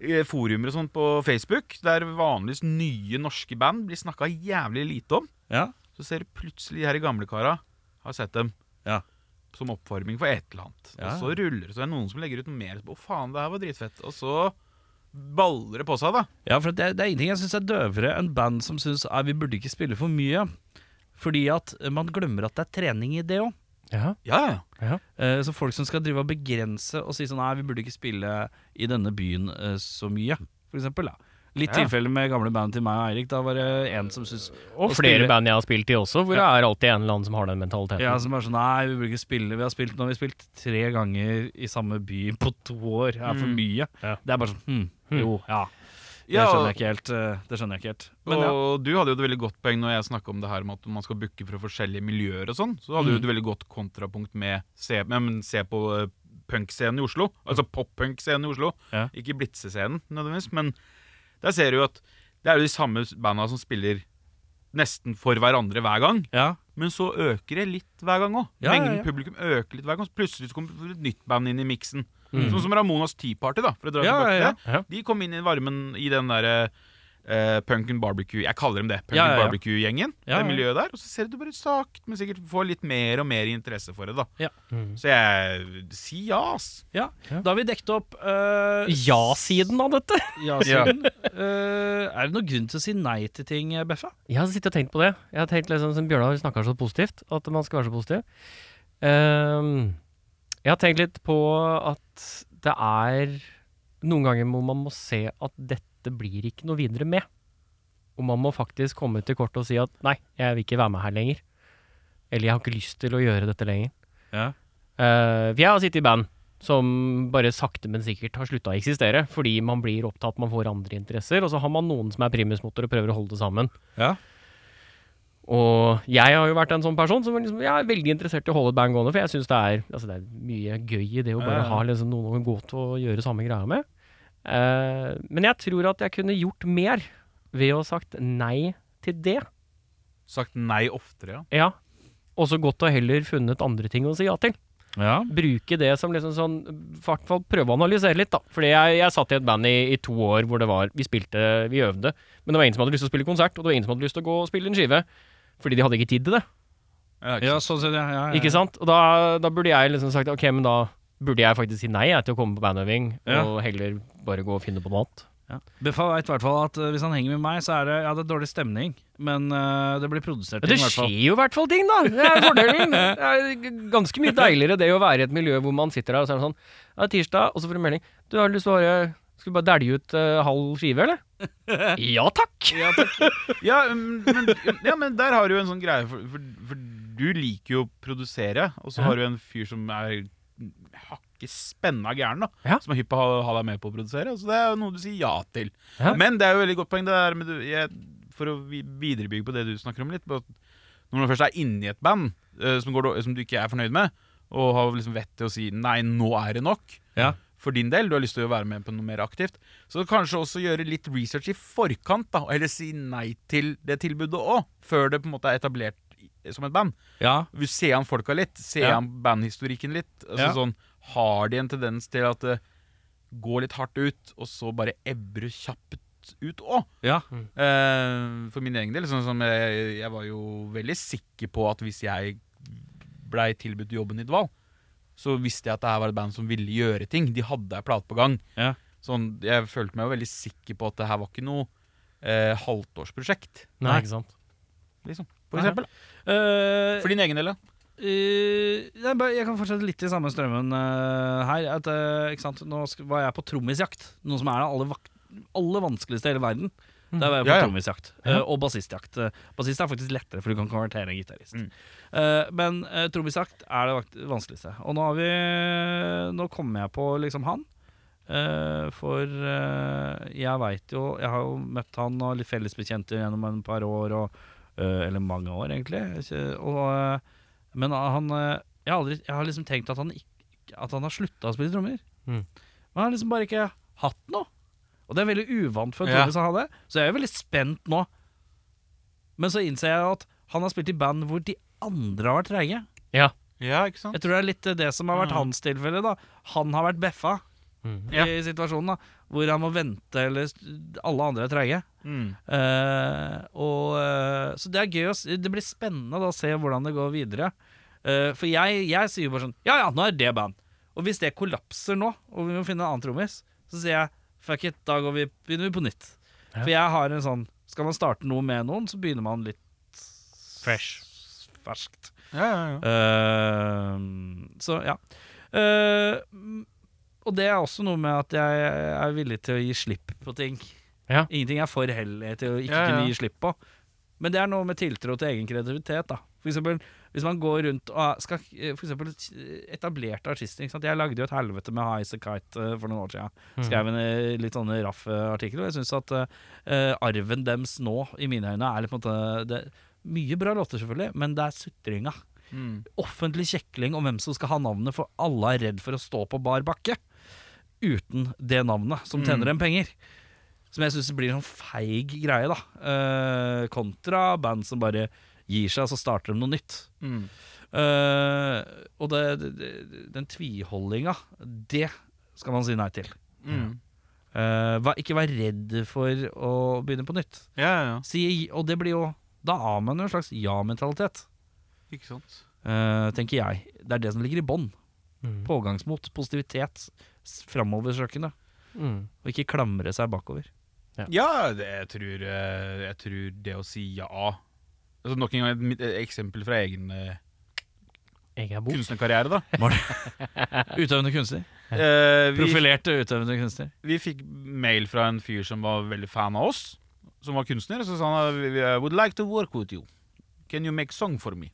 eh, forumer og sånt på Facebook, der vanligvis nye norske band blir snakka jævlig lite om.
Ja.
Så ser du plutselig de her gamlekara har sett dem
Ja.
som oppvarming for et eller annet.
Ja.
Og så ruller det, så er det noen som legger ut noe mer. Å, faen, det her var dritfett. Og så baller det på seg, da.
Ja, for det, det er ingenting jeg syns er døvere enn band som syns vi burde ikke spille for mye. Fordi at eh, man glemmer at det er trening i det òg.
Ja.
Ja, ja.
Eh, Så folk som skal drive og begrense og si sånn Nei, vi burde ikke spille i denne byen eh, så mye, for eksempel. Da. Litt
Ja.
tilfelle med gamle band til meg og Eirik. Da var det en som syntes Og
Og flere
spille-
band jeg har spilt i også, hvor det er alltid en eller annen som har den mentaliteten.
ja, som er sånn Nei, vi burde ikke spille. Vi har spilt, nå har vi spilt tre ganger i samme by på to år. Det er for mye.
Ja.
Det er bare sånn hm, Jo, ja. Det
Mm. Hmm. ja
skjønner
og,
jeg ikke helt. eh, Det skjønner jeg ikke helt. Men ja.
og du hadde jo et veldig godt poeng når jeg snakka om det her med at man skal booke fra forskjellige miljøer og sånn. Så hadde
Mm.
du et veldig godt kontrapunkt med se, ja, men se på eh, punkscenen i Oslo. Altså pop-punk-scenen i Oslo.
Mm. Ja.
Ikke blitsescenen nødvendigvis, men der ser du jo at det er jo de samme banda som spiller nesten for hverandre hver gang.
ja.
Men så øker det litt hver gang òg.
Ja, ja,
Mengden
ja.
publikum øker litt hver gang. Så plutselig så kommer et nytt band inn i miksen. Sånn som Ramonas Tea Party, da. For å dra
Mm. Ja,
tilbake til
ja,
ja. Ja.
det. De kom inn i varmen i den derre eh, Punk and Barbecue Jeg kaller dem det. Punk
Ja,
and
ja, ja.
Barbecue-gjengen.
Ja, ja.
Det miljøet der. Og så ser du bare sakte, men sikkert får litt mer og mer interesse for det, da.
Ja.
Så jeg Si ja, ass.
Ja. Da har vi dekket opp eh,
Ja-siden av dette!
ja-siden. Eh, er det noen grunn til å si nei til ting, eh, Beffa?
Jeg har sittet og tenkt på det. Jeg har tenkt liksom, som Bjørnar snakka så positivt, at man skal være så positiv. Ehm, jeg har tenkt litt på at det er noen ganger hvor man må se at dette blir ikke noe videre med. Og man må faktisk komme til kort og si at nei, jeg vil ikke være med her lenger. Eller jeg har ikke lyst til å gjøre dette lenger.
Ja.
Eh, for jeg har sittet i band som bare sakte, men sikkert har slutta å eksistere. Fordi man blir opptatt, man får andre interesser, og så har man noen som er primusmotor og prøver å holde det sammen.
Ja.
Og jeg har jo vært en sånn person som liksom, jeg er veldig interessert i å holde et band gående, for jeg syns det, er- altså det er mye gøy i det å
Ja,
bare
ja.
ha liksom noen å gå til og gjøre samme greia med. Eh, men jeg tror at jeg kunne gjort mer ved å ha sagt nei til det.
Sagt nei oftere, ja.
Ja. Og så godt å heller funnet andre ting å si ja til.
Ja.
Bruke det som liksom sånn I hvert fall prøve å analysere litt, da. Fordi jeg, jeg satt i et band i, i to år hvor det var Vi spilte, vi øvde, men det var ingen som hadde lyst til å spille konsert, og det var ingen som hadde lyst til å gå og spille en skive. Fordi de hadde ikke tid til det.
Ja, ikke
Ja,
sant?
sånn sett, ja, ja, ja.
Ikke sant? Og da, da burde jeg liksom sagt ok, men da burde jeg faktisk si nei jeg, til å komme på bandøving,
Ja.
og heller bare gå og finne på noe annet.
Ja. Beffa vet i hvert fall at eh, hvis han henger med meg, så er det, ja, det er dårlig stemning. Men eh, det blir produsert
Men det
ting, i hvert
skjer
fall.
jo i hvert fall ting, da! Det er fordelen. Det er g- ganske mye deiligere det å være i et miljø hvor man sitter der, og så er det sånn Ja, det er tirsdag, og så får du melding. Du har lyst til å bare Skal du bare dælje ut eh, halv skive, eller? Ja takk!
Ja, um, men, ja, men der har du jo en sånn greie For, for, for du liker jo å produsere Og så har du en fyr som er Hakket spenna gæren da
Ja.
Som er hypp på å ha, ha deg med på å produsere Så det er jo noe du sier ja til
Ja.
Men det er jo veldig godt poeng det der med du, jeg, For å vi- viderebygge på det du snakker om litt på at Når man først er inne i et band eh, som, går, dår- som du ikke er fornøyd med Og har liksom vett til å si Nei, nå er det nok
Ja.
for din del, du har lyst til å være med på noe mer aktivt. Så kanskje også gjøre litt research i forkant, da, og heller si nei til det tilbudet òg, før det på en måte er etablert i- som et band.
Ja.
Vi ser an folka litt, ser
Ja.
an bandhistorikken litt. Altså
Ja.
sånn, Har de en tendens til at det går litt hardt ut, og så bare ebber kjapt ut òg?
Ja.
Eh, for min egen del, sånn som jeg, jeg var jo veldig sikker på at hvis jeg blei tilbudt jobben i Dval, så visste jeg at det her var et band som ville gjøre ting. De hadde ei plate på gang.
Ja.
Sånn, jeg følte meg jo veldig sikker på at det her var ikke noe eh, halvtårsprosjekt,
Nei, ikke sant.
liksom. For
Nei.
eksempel.
Eh,
For din egen del, da.
eh, nei, bare- jeg kan fortsette litt i samme strømmen eh, her. At, eh, ikke sant? Nå sk- var jeg på trommisjakt, noe som er det aller, vak aller vanskeligste i hele verden. Der var jeg på
Mm. Ja, ja.
trommisjakt. eh, Og bassistjakt. Eh, Bassist er faktisk lettere, for du kan konvertere en gitarist.
Mm.
Eh, men uh, trommisjakt er det vakt- vanskeligste. Og nå har vi Nå kommer jeg på liksom han. Eh, for eh, jeg veit jo Jeg har jo møtt han og litt fellesbekjente gjennom en par år, og, eh, eller mange år, egentlig. Ikke- Og, eh, men han eh, jeg har, aldri, jeg har liksom tenkt at han, ikke, at han har slutta å spille trommer.
Mm.
Men han har liksom bare ikke hatt noe. Og det er veldig uvant for en
Ja.
trommis å ha det, så jeg er veldig spent nå. Men så innser jeg at han har spilt i band hvor de andre har vært treige.
Ja.
Ja, ikke sant?
Jeg tror det er litt eh, det som har vært hans tilfelle. da Han har vært beffa
Mm.
Ja.
i situasjonen, da hvor han må vente, eller st- alle andre er treige.
Mm.
Eh, og, eh, så det er gøy å s- Det blir spennende da, å se hvordan det går videre. Eh, for jeg, jeg sier jo bare sånn Ja ja, nå er det band. Og hvis det kollapser nå, og vi må finne en annen trommis, så sier jeg fuck it, da går vi, begynner vi på nytt.
Ja.
For jeg har en sånn Skal man starte noe med noen, så begynner man litt fresh. Ferskt.
Ja, ja, ja.
Eh, så ja. Eh, m- og det er også noe med at jeg er villig til å gi slipp på ting.
Ja.
Ingenting er for hellig til å ikke
Ja, ja.
kunne gi slipp på. Men det er noe med tiltro til egen kreativitet. da For eksempel, Hvis man går rundt og er- skal eh, For eksempel etablerte artister. Ikke sant? Jeg lagde jo et helvete med High As A Kite eh, for noen år siden.
Mm.
Skrev en eh, litt sånn raff eh, artikkel. Og jeg syns at eh, arven dems nå, i mine øyne, er litt på en måte det, er Mye bra låter, selvfølgelig, men det er sutringa
Mm.
offentlig kjekling om hvem som skal ha navnet, for alle er redd for å stå på bar bakke uten det navnet som tjener dem penger. Som jeg syns blir en sånn feig greie, da. Eh, kontra band som bare gir seg, så starter de noe nytt.
Mm.
Eh, og det, det, det- den tviholdinga, det skal man si nei til.
Mm.
Eh, vær- ikke vær redd for å begynne på nytt.
Ja, ja, ja.
Si, og det blir jo Da har man jo en slags ja-mentalitet.
Ikke sant?
Eh, tenker jeg. Det er det som ligger i bånn.
Mm.
Pågangsmot, positivitet, s- framoversøkende.
Mm.
Og ikke klamre seg bakover.
Ja, det, jeg, tror, eh, jeg tror det å si ja altså, Nok en gang et mitt- et eksempel fra egen eh,
Jeg er bok.
kunstnerkarriere, da.
Utøvende kunstner.
Eh, vi,
Profilerte utøvende kunstner.
vi fikk mail fra en fyr som var veldig fan av oss, som var kunstner. Så sa han "Uh, I would like to work with you. Can you make song for me?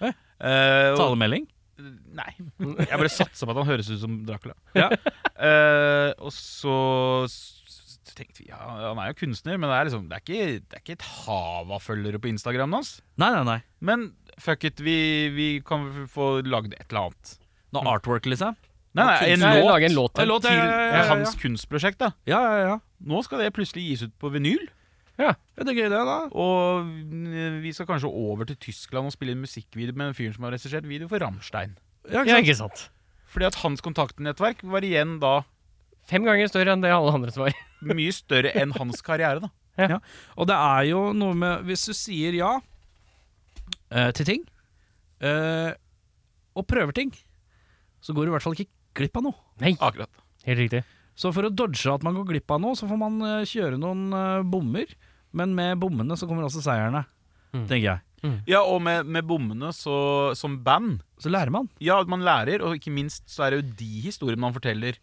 Eh?
Eh, og-
Talemelding.
Nei. Jeg bare satsa på at han høres ut som Dracula.
Ja.
Eh, og så s- s- tenkte vi ja, han er jo kunstner, men det er, liksom, det er, ikke, det er ikke et hav av følgere på Instagramen hans.
Nei, nei, nei.
Men fuck it, vi, vi kan vel få lagd et eller annet.
Noe artwork, liksom.
Nei, nei, en
Nei,
låt
lage en låt
En
til.
låt,
til
ja, ja, ja, ja.
hans kunstprosjekt. da
Ja, ja, ja.
Nå skal det plutselig gis ut på vinyl.
ja det er gøy, det, da.
Og eh, vi skal kanskje over til Tyskland og spille en musikkvideo med en fyr som har regissert video for Rammstein.
Ja, ikke sant?
Fordi at hans kontaktnettverk var igjen da
Fem ganger større enn det alle andre som var.
mye større enn hans karriere. da
Og det er jo noe med Hvis du sier ja eh, til ting, eh, og prøver ting, så går du i hvert fall ikke glipp av noe.
Nei,
Akkurat
helt riktig.
Så for å dodge at man går glipp av noe, så får man eh, kjøre noen eh, bommer. Men med bommene så kommer også seierne,
Mm.
tenker jeg.
Ja, og med, med bommene så, som band
Så lærer man.
Ja, man lærer, og ikke minst så er det jo de historiene man forteller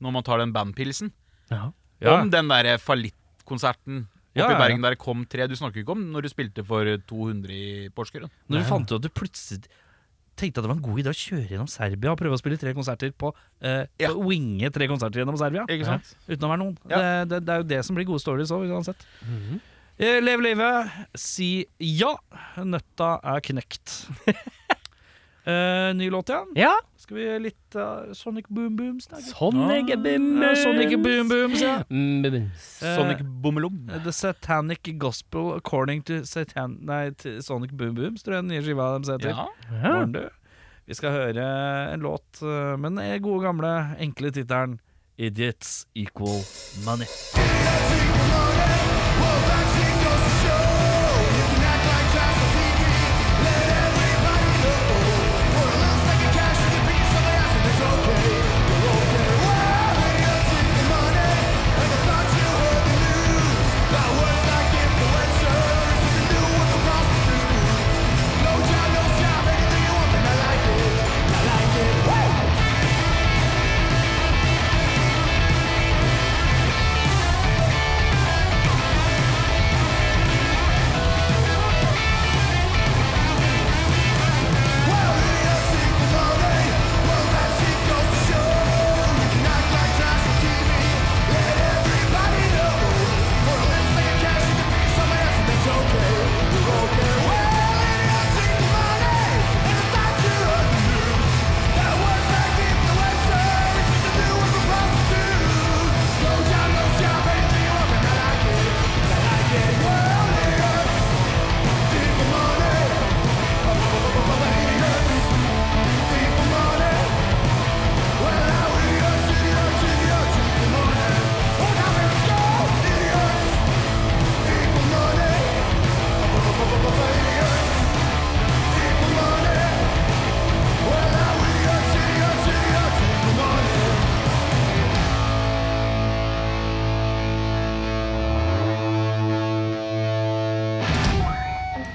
når man tar den bandpilsen.
Ja.
Ja.
Om den der fallittkonserten oppe
Ja, ja, ja.
i Bergen der det kom tre. Du snakker jo ikke om når du spilte for 200 i Porsgrunn.
Når du fant ut at du plutselig tenkte at det var en god idé å kjøre gjennom Serbia og prøve å spille tre konserter på, eh,
Ja.
på winge tre konserter gjennom Serbia
Ikke sant?
uten å være noen.
Ja.
Det, det, det er jo det som blir gode stories òg, uansett. Eh, Lev livet, si ja. Nøtta er knekt. eh, ny låt, ja.
ja.
Skal vi litt eh, Sonic Boom Boom snakke?
Sonic Boom
Ja, Sonic Boom Boom, ja.
Mm,
Eh,
Sonic Bommelom.
The Satanic Gospel According to Satan... Nei, til Sonic Boom Booms, tror jeg den nye skiva deres heter.
Ja.
Ja.
Morgen, du. Vi skal høre en låt, eh, men den gode gamle, enkle tittelen Idiots Equal Money.
Thank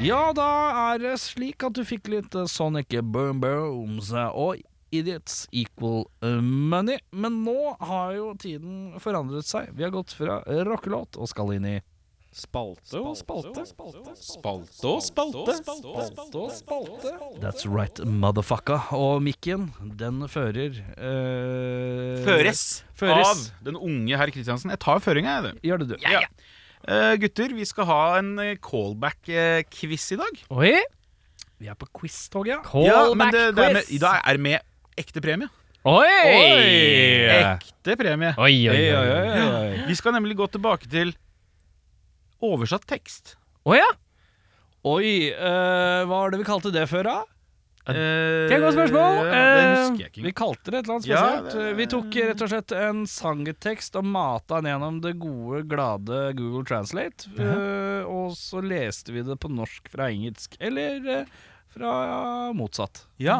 Ja, da er det slik at du fikk litt eh, Sonic Boom Booms eh, og Idiots Equal eh, Money. Men nå har jo tiden forandret seg. Vi har gått fra rockelåt og skal inn i
Spalte og spalte.
Spalte og spalte.
That's right, motherfucka. Og mikken, den fører eh,
Føres,
Føres.
av den unge herr Kristiansen. Jeg tar føringa, jeg, det.
Gjør det, du.
Eh, gutter, vi skal ha en eh, callback-quiz i dag.
Oi!
Vi er på quiz-tog, ja.
Ja, men det, det er med,
Callback-quiz!
I dag er det med ekte premie.
Oi! Eh,
Ekte premie.
Oi, oi, oi.
Vi skal nemlig gå tilbake til oversatt tekst.
Å ja!
Oi, eh, hva var det vi kalte det før, da?
Det
er et godt spørsmål.
Eh, det
Eh,
husker jeg
Vi
ikke.
kalte det et eller annet
Ja,
spesielt.
det-
Vi tok rett og slett en sangtekst og mata den gjennom det gode, glade Google Translate. eh, Og så leste vi det på norsk fra engelsk. Eller eh, fra motsatt.
Ja.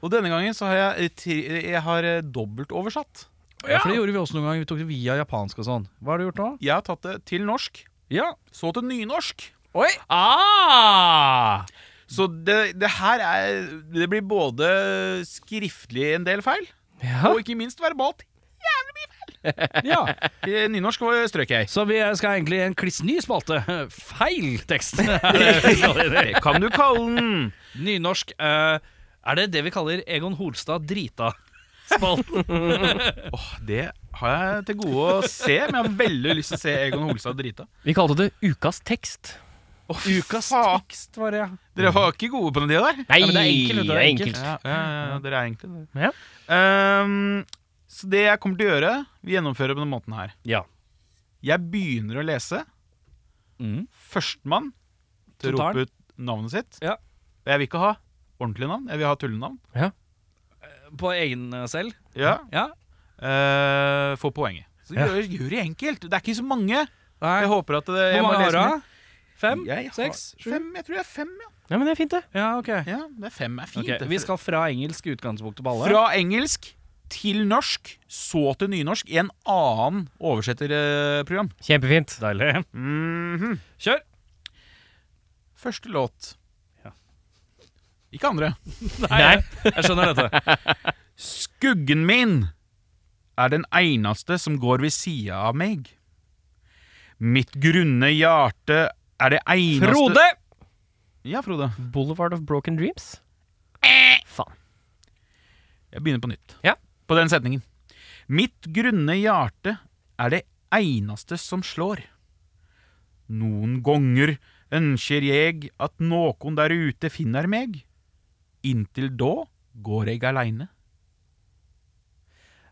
Og denne gangen så har jeg, tre- jeg har eh, dobbeltoversatt.
Ja. For det gjorde vi også noen ganger. Vi tok det via japansk og sånn. Hva har du gjort nå?
Jeg har tatt det til norsk,
Ja.
så til nynorsk.
Oi!
Ah! Så det, det her er Det blir både skriftlig en del feil,
Ja.
og ikke minst verbalt.
Ja.
Eh, Nynorsk var- strøk jeg.
Så vi skal egentlig i en kliss ny spalte. Feil tekst!
Det kan du kalle den.
Nynorsk. eh, er det det vi kaller Egon Holstad drita? Spalten.
Det har jeg til gode å se, men jeg har veldig lyst til å se Egon Holstad drita.
Vi kalte det ukas tekst.
Oh,
Ukas tekst, var det.
Dere var ikke gode på den tida der.
Nei,
men det er enkelt, det er enkelt.
Ja, ja, ja, dere er egentlig det.
Ja.
Ehm, så det jeg kommer til å gjøre, vi gjennomfører på den måten her.
Ja.
Jeg begynner å lese.
Mhm.
Førstemann
Så
til å
tar
rope ut navnet sitt.
Ja.
Jeg vil ikke ha ordentlig navn, jeg vil ha tullenavn.
På egen eh, selv.
Ja.
Ja.
Eh, få poenget. Så gjør, gjør det enkelt. Det er ikke så mange.
Nei.
Jeg håper at det,
Hvor
jeg må
mange
lese
har du?
mer.
da? Fem?
Jeg har
Seks? Sju?
Fem, jeg tror det er fem, ja.
Ja, men det er fint, det.
Ja, ok.
ja det er fem er fint.
Ok,
det.
Vi skal fra engelsk utgangspunkt til balle.
Fra engelsk til norsk, så til nynorsk, i en annen oversetterprogram.
Kjempefint.
Deilig. Mhm. Kjør!
Første låt.
Ja.
Ikke andre.
Nei.
Jeg skjønner dette.
Skuggen min er den eneste som går ved sida av meg. Mitt grunne hjerte er det eneste
Frode!
Ja, Frode.
Boulevard of Broken Dreams. Faen.
Jeg begynner på nytt.
Ja.
På den setningen. Mitt grunne hjerte er det eneste som slår. Noen ganger ønsker jeg at noen der ute finner meg. Inntil da går jeg aleine.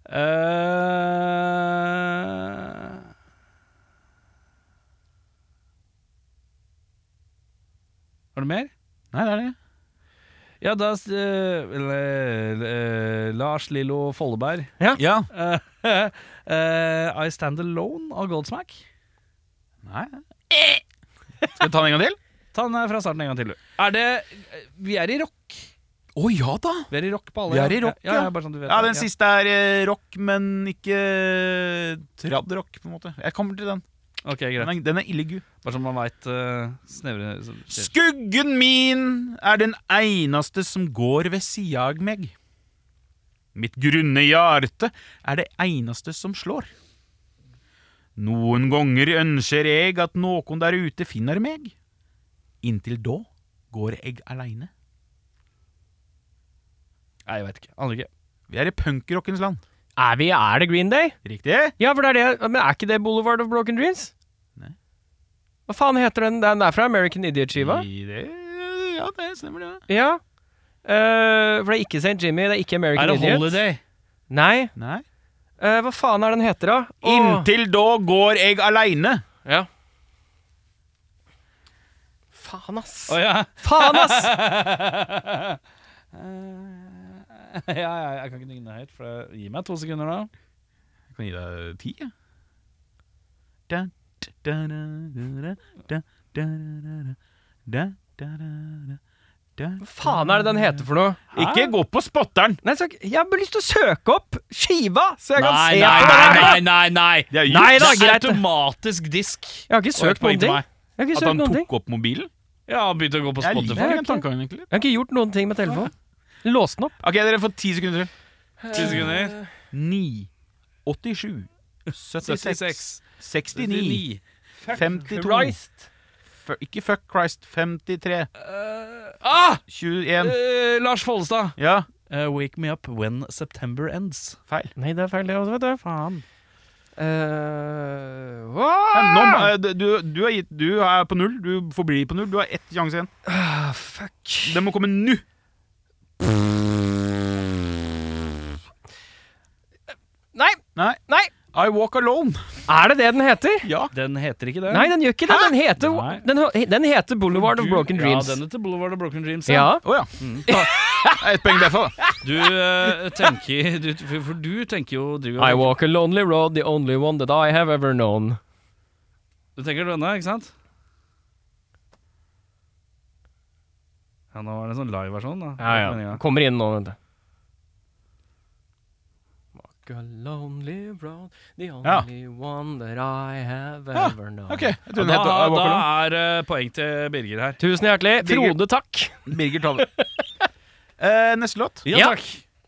Eh, Har du mer?
Nei, det er det.
Ja, da s- eh, eller, eh, Lars Lillo Folleberg.
Ja.
Eh, eh, I Stand Alone av Goldsmack.
Nei. Eh. Skal vi ta den en gang til?
Ta den her fra starten en gang til, du. Er det eh, Vi er i rock.
Å ja da!
Vi er i rock på alle.
Vi er i rock,
ja.
ja.
ja, bare sånn du vet
Ja,
det.
Den siste er eh, rock, men ikke trad-rock, på en måte. Jeg kommer til den.
Ok, greit.
Den er, den er ille gu.
Bare så man veit uh, snevre så- shit.
Skuggen min er den eneste som går ved sida av meg. Mitt grunne hjerte er det eneste som slår. Noen ganger ønsker jeg at noen der ute finner meg. Inntil da går jeg aleine.
Nei, jeg veit ikke. Aner ikke.
Vi er i punkrockens land.
Er, vi, er det Green Day?
Riktig?
Ja, for det er det Men er ikke det Boulevard of Broken Dreams?
Nei.
Hva faen heter den? Den er fra American Idiot-skiva?
I det, ja, det stemmer, det.
Ja. Eh, for det er ikke St. Jimmy, det er ikke American
Er det
Idiot.
Holiday?
Nei.
Nei.
Eh, hva faen er den heter, da? Åh.
Inntil da går jeg aleine.
Ja. Faen, ass.
Å ja.
Faen, ass!
ja. ja, Jeg kan ikke nynne høyt, for det- gi meg to sekunder, da.
Jeg kan gi deg ti, jeg. Da, da, da, da, da, da, da, da, da, da, da, da.
Hva faen er det den heter for noe?
Ikke gå på spotteren!
Nei, så, jeg har bare lyst til å søke opp skiva, så jeg kan se
nei,
på den.
nei, nei, nei!
Det er jo
Nei
juks
da,
Det er
greit.
automatisk disk.
Jeg har ikke søkt
Poeng til
noen ting.
meg.
Jeg har ikke
at
søkt
han
noen ting.
tok opp mobilen.
Jeg har begynt å gå på
Jeg liker
Spotify.
den tankegangen, egentlig.
Jeg har ikke gjort noen ting med telefonen. Låste den opp.
Ok, dere får ti sekunder til.
Ti sekunder.
9, 87,
76.
76, 69, 52
Christ.
F- Ikke fuck Christ. 53,
Ah!
21
Eh, Lars Follestad.
Ja,
Eh, wake me up when September ends.
feil.
Nei, det er feil, det også, vet du.
Faen.
Eh,
Ja,
hva?
nå, må- eh, du, du, er gitt, du er på null. Du forblir på null. Du har ett sjanse igjen. fuck. Den må komme nå.
Nei,
Nei.
Nei.
I Walk Alone.
er det det den heter?
Ja.
Den heter ikke det.
Nei, den gjør ikke det. Den
Nei.
heter, den, den heter Boulevard of
Du-
Broken
ja,
Dreams.
den heter Boulevard of Broken Dreams.
Ja,
Å ja. Ett poeng derfra, da.
Du eh, tenker du, for- For du tenker jo driver,
I
jo-
walk a lonely road, the only one that I have ever known.
Du tenker denne, ikke sant? Ja, nå var det en sånn live-versjon, da.
Ja, ja.
Meningen.
Kommer inn nå, vent. Walk a lonely road, the only one that I have
Ja,
ever known.
Ok, jeg
Ja,
tror den heter
da,
I Walk
da
Alone.
er eh, poeng til Birger her.
Tusen hjertelig.
Birger.
Frode, takk.
Birger tar det. Eh, neste låt.
Ja,
Ja.
takk.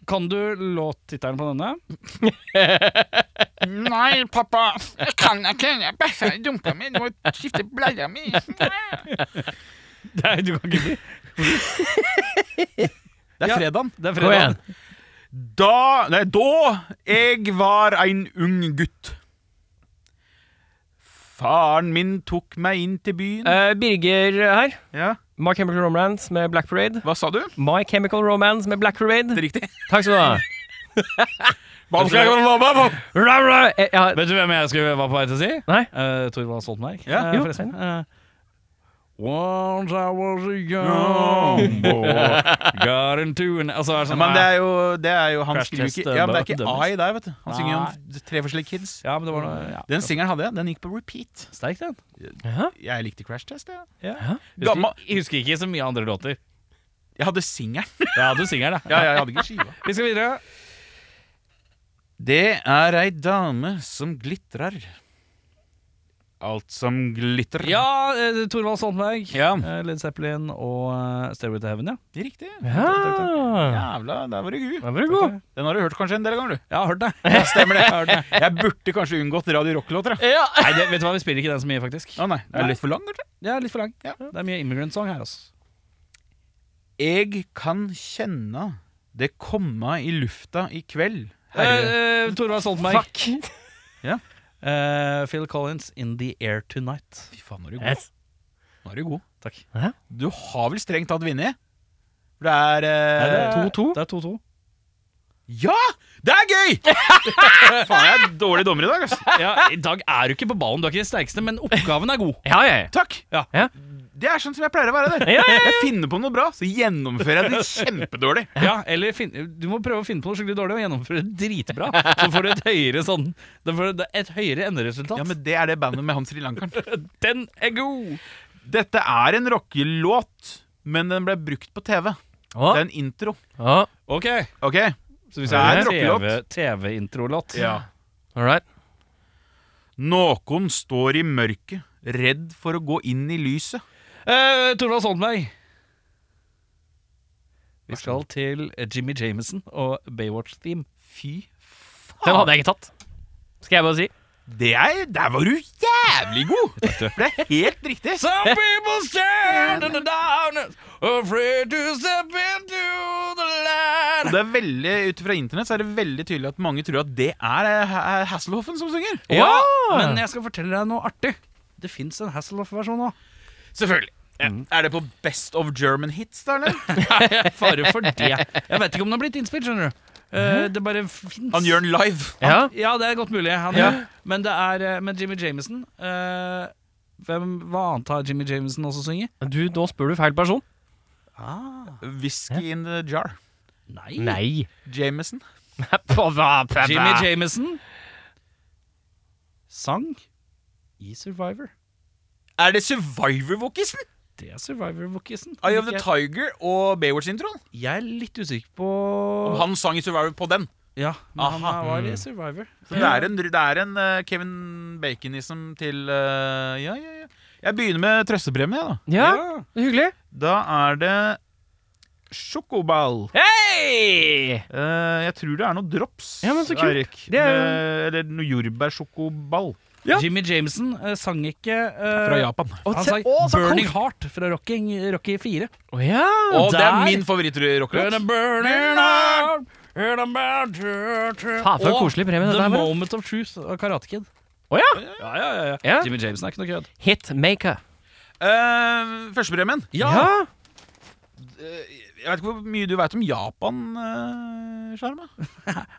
Kan du låttittelen på denne?
Nei, pappa. Jeg kan ikke. Jeg bæsja i dumpa mi. Du må skifte bleia mi.
Nei, du kan ikke bli.
Det er
Ja.
fredagen.
Det er
Kom
fredag.
igjen.
Da Nei, da jeg var ein ung gutt. Faren min tok meg inn til byen.
Eh, Birger her.
Ja.
My Chemical Romance med Black Parade.
Hva sa du?
My Chemical Romance med Black Parade.
Det er riktig.
Takk skal du ha.
Vet
Ra, ra, eh, ja.
du hvem jeg skulle var på vei til å si?
Nei.
Uh, Torvald Stoltenberg,
Ja,
eh,
jo.
forresten. Eh, Once I was a young boy, got into an Altså, er det sånn,
Men det er jo, det er jo Han
Crash
skriver
test,
ikke Ja, men det er
uh,
ikke I der, vet du. Han synger jo om tre forskjellige kids.
Ja, men det var noe ja.
Den singelen hadde jeg. Den gikk på repeat.
Sterk, den.
Ja.
Jeg likte Crash Test, jeg.
Husker,
Gamma-
jeg husker ikke så mye andre låter.
Jeg hadde singelen.
Ja, du synger, da.
Ja, ja, jeg hadde ikke skiva.
Vi skal videre.
Det er ei dame som glitrer. Alt som glitrer.
Ja, eh, Torvald Stoltenberg,
Ja.
eh, Led Zeppelin og eh, Stairway to Heaven, ja.
Det er riktig.
Ja.
Jævla, der var du gud.
Den var jo god.
Den har du hørt kanskje en del ganger, du.
Jeg har hørt det.
Ja, stemmer det. Jeg burde kanskje unngått Radio Rock-låter. jeg.
Nei, det, vet du hva, Vi spiller ikke den så mye, faktisk.
Å nei, det er litt for lang, kanskje?
Det er Eh, litt for lang.
Ja.
Det er mye Immigrant Song her, altså.
Jeg kan kjenne det komme i lufta i kveld. Herre.
Eh, eh, Torvald Stoltenberg. Fuck.
Ja.
Eh, Phil Collins, 'In The Air Tonight'.
Fy faen, nå er du god.
Yes.
Nå er du god.
Takk.
Hæ?
Du har vel strengt tatt vunnet? For det er eh,
Nei, det er-
2-2.
Det er 2-2.
Ja! Det er gøy! faen, jeg er dårlig dommer i dag, altså.
Ja, I dag er du ikke på ballen, du er ikke den sterkeste, men oppgaven er god.
Ja, ja, ja.
Takk.
Ja.
Ja.
Det er sånn som jeg pleier å være der.
Ja, ja,
Jeg finner på noe bra, så gjennomfører jeg det kjempedårlig.
Ja, eller fin Du må prøve å finne på noe skikkelig dårlig og gjennomføre det dritbra. Så får du et høyere sånn Da får du et høyere enderesultat.
Ja, men Det er det bandet med han srilankeren.
den er god!
Dette er en rockelåt, men den ble brukt på TV. Det er en intro.
Ja.
OK.
Ok?
Så hvis
Det er
jeg har
en
en
rockelåt.
TV-introlåt
All right.
Noen står i mørket, redd for å gå inn i lyset.
Eh, Torvald Stoltenberg. Vi skal til Jimmy Jameson og Baywatch-theme.
Fy
Den hadde jeg ikke tatt. Skal jeg bare si.
det er, Der var du jævlig god! For det er helt riktig.
Some people stand in the darkness, afraid to step into the light.
Og det er veldig, Ut fra internett så er det veldig tydelig at mange tror at det er eh, Ha- Hasselhoffen som synger.
Ja, men jeg skal fortelle deg noe artig. Det fins en Hasselhoff-versjon òg.
Selvfølgelig. Er det på Best of German hits, da? eller?
Fare for det. Jeg vet ikke om den har blitt innspilt, skjønner du. Eh, det bare fins.
Han gjør den live.
Ja.
Ja, det er godt mulig. Han,
Ja.
gjør. Men det er eh, Men Jimmy Jameson eh, hvem, Hva annet har Jimmy Jameson også sunget?
Du, nå spør du feil person.
Whisky in the jar.
Nei.
Nei.
Jameson.
Jimmy
Jimmy J.
Jameson sang i Survivor.
Er det Survivor-vokisen?
Det er Survivor-vokisen.
Eye of the Tiger og Baywatch-introen?
Jeg er litt usikker på
Om Han sang i Survivor på den.
Ja, men
Aha.
han var i Survivor.
Så det er en, det er en eh, Kevin Bacon-ism til eh, Ja, ja, ja. Jeg begynner med trøstepremie, jeg, da.
Ja, hyggelig.
Da er det sjokoball.
Hei!
Eh, jeg tror det er noe drops,
Ja, men så kult.
Eirik.
Det er-
Med- Eller noe jordbærsjokoball
Jimmy Jameson eh, sang ikke
fra
eh,
Japan.
Han sang
Å, så
Burning Heart fra Rocky, Rocky 4.
Å ja!
Og det er
der-
min favorittrocklåt.
burning heart and I'm bound to- to-
Faen, for en
Og
koselig premie dette
The
her var.
Moment of Truth av Karate Kid.
Å ja.
Ja, ja, ja,
Ja.
Jimmy Jameson er ikke noe kødd.
Hitmaker.
Uh, Førstepremien.
Ja.
Jeg vet ikke hvor mye du veit om Japan, eh, Sjarma.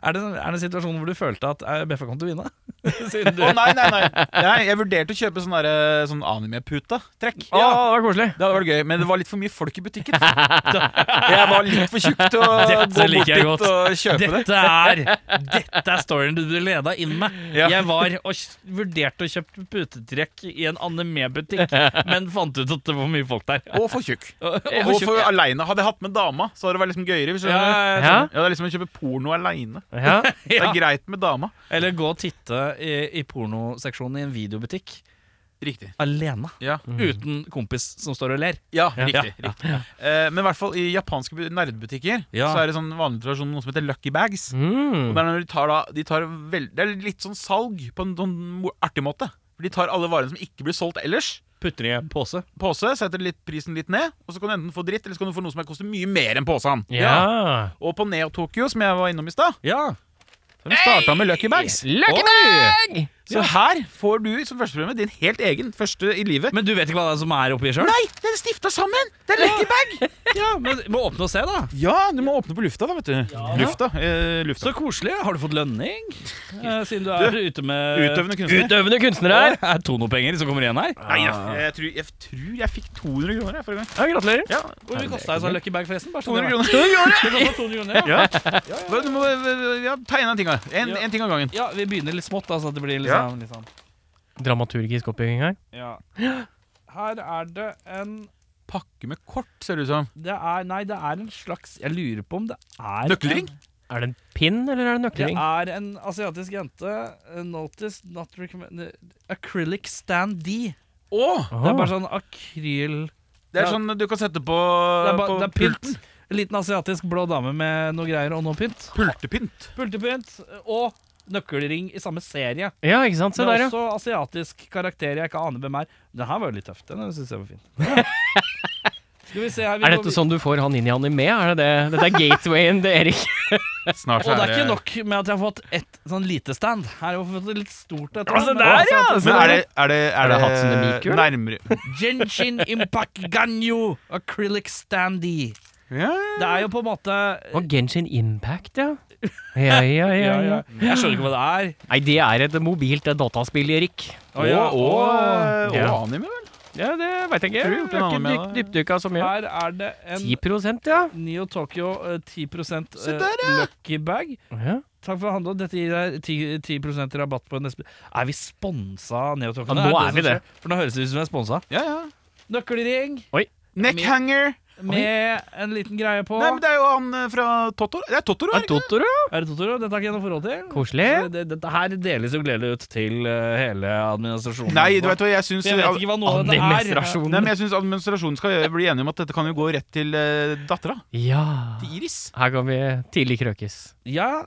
Er, det- er det en situasjon hvor du følte at eh, Beffa kom til å vinne?
Å nei, nei, nei, nei. Jeg vurderte å kjøpe sånn derre- sånn anime-puta-trekk.
Å, det var koselig.
Det hadde vært gøy, men det var litt for mye folk i butikken. Jeg var litt for tjukk til å
Dette
gå
liker
bort
jeg
dit
godt.
og kjøpe det.
Dette er, dette er storyen du leda inn med.
Ja.
Jeg var og kj- vurderte å kjøpe putetrekk i en anime-butikk, men fant ut at det var mye folk der.
Og for tjukk.
Og, og
Og for aleine. Hadde jeg hatt med dama, så hadde det vært liksom gøyere. Hvis du
ja,
skjønner.
ja, ja.
Ja.
ja, Det er liksom å kjøpe porno aleine.
ja.
Det
Ja.
er greit med dama.
Eller gå og titte i, i pornoseksjonen i en videobutikk
Riktig.
alene.
Ja,
Mhm.
Uten kompis som står og ler.
ja
Ja.
riktig. riktig. Eh, men i hvert fall i japanske bu- nerdbutikker
Ja.
Så er det sånn vanlig tradisjon noe som heter lucky bags. Og
Mm.
det er når de tar da de tar vel, Det er litt sånn salg på en sånn mo- artig måte. For De tar alle varene som ikke blir solgt ellers.
Putter i en pose.
Pose, setter litt, prisen litt ned, og så kan du enten få dritt, eller så kan du få noe som koster mye mer enn posen.
Ja.
Og på Neo Tokyo, som jeg var innom i stad,
Ja.
så har de starta med Lucky Bags.
Lucky bag!
Så her får du som førstepremie din helt egen. Første i livet.
Men du vet ikke hva det er som er oppi sjøl?
Nei, den er stifta sammen! Det er Lucky Bag!
Ja, men må åpne og se, da.
Ja, du må åpne på lufta, da, vet du. Lufta. Eh, lufta.
Så koselig. Har du fått lønning? Eh, siden du er ute med
Utøvende kunstner.
Utøvende
Å,
kunstner her.
er det to noe penger som kommer igjen her?
Nei, ja. jeg, tror, jeg tror jeg fikk 200 kroner jeg, forrige gang.
Ja, gratulerer.
Ah. Ja,
Hvor mye kosta en sånn lucky bag, forresten? Bare
200
sånn
kroner. 200
det
kroner.
kostet 200 kroner ja.
Hva, Du må eh, ja, ta en av tinga. En,
Ja.
en ting av gangen.
ja, vi begynner litt smått, da, så det blir litt
Ja.
sånn- litt sånn
Dramaturgisk oppbygging her.
ja. Her er det en
Pakke med kort, ser det ut som.
det er, Nei, det er en slags Jeg lurer på om det er
Nøkkelring?
en-
Er det en pinn, eller er det
Det
nøkkelring?
er en asiatisk jente. eh, Notice not recommended Acrylic stand D.
Å!
Det er bare sånn akryl...
Det er
Ja.
sånn du kan sette på,
Det er, ba,
på
det er pynt. Eh, En liten asiatisk blå dame med noe greier og noe pynt.
Pultepynt.
Pultepynt og nøkkelring i samme serie.
Ja, ikke sant. Se
Med
der, ja.
også asiatisk karakter jeg ikke aner hvem er. Den her var jo litt tøff. Den syns jeg var fin. Skal vi se her vi
Er
må-
dette sånn du får han inn i anime? Er det det? Dette er gatewayen til Erik.
Snart
Og det er ikke nok med at jeg har fått ett sånn lite stand. Her har jeg fått et litt stort et.
Altså, der, ja!
Men er det Er det, er
det
det,
Hatsune Miku, eller?
Nærmere
Genshin Impact Ganyo Acrylic Standy.
ja.
Det er jo på en måte
Og Genshin Impact, ja. Ja, ja,
ja,
ja.
ja.
ja.
Jeg skjønner ikke hva det er.
Nei, det er et mobilt dataspill, Erik.
Å, ja.
Og, og,
Ja.
og anime, vel?
Ja, det veit jeg ikke.
Tror du gjort
Jeg har
en
ikke
anime,
dyp, dypdykka så mye.
Her er det en
10 ja.
Neo Tokyo eh, 10
Se
eh,
der, ja.
lucky bag.
ja.
Takk for handelen. Dette gir deg 10, 10 rabatt på en neste Er vi sponsa av Neo Tokyo?
Ja, nå er
som
vi det.
skjer? For nå høres det ut som vi er sponsa.
Ja, ja.
Nøkkelring
Neckhanger.
med en liten greie på.
Nei, men det er jo han eh, fra Totoro. Det er Totoro, er det ikke?
Totoro?
Er det Totoro? Dette har ikke jeg noe forhold til.
Koselig.
Så det- Dette her deles jo gledelig ut til eh, hele administrasjonen.
Nei, du vet hva, jeg syns
Jeg vet ikke hva noe av dette er.
Nei, men
Animestrasjonen.
jeg synes administrasjonen skal gjøre- bli enige om at dette kan jo gå rett til uh, dattera.
Ja.
Til Iris.
Her kan vi tidlig krøkes.
Ja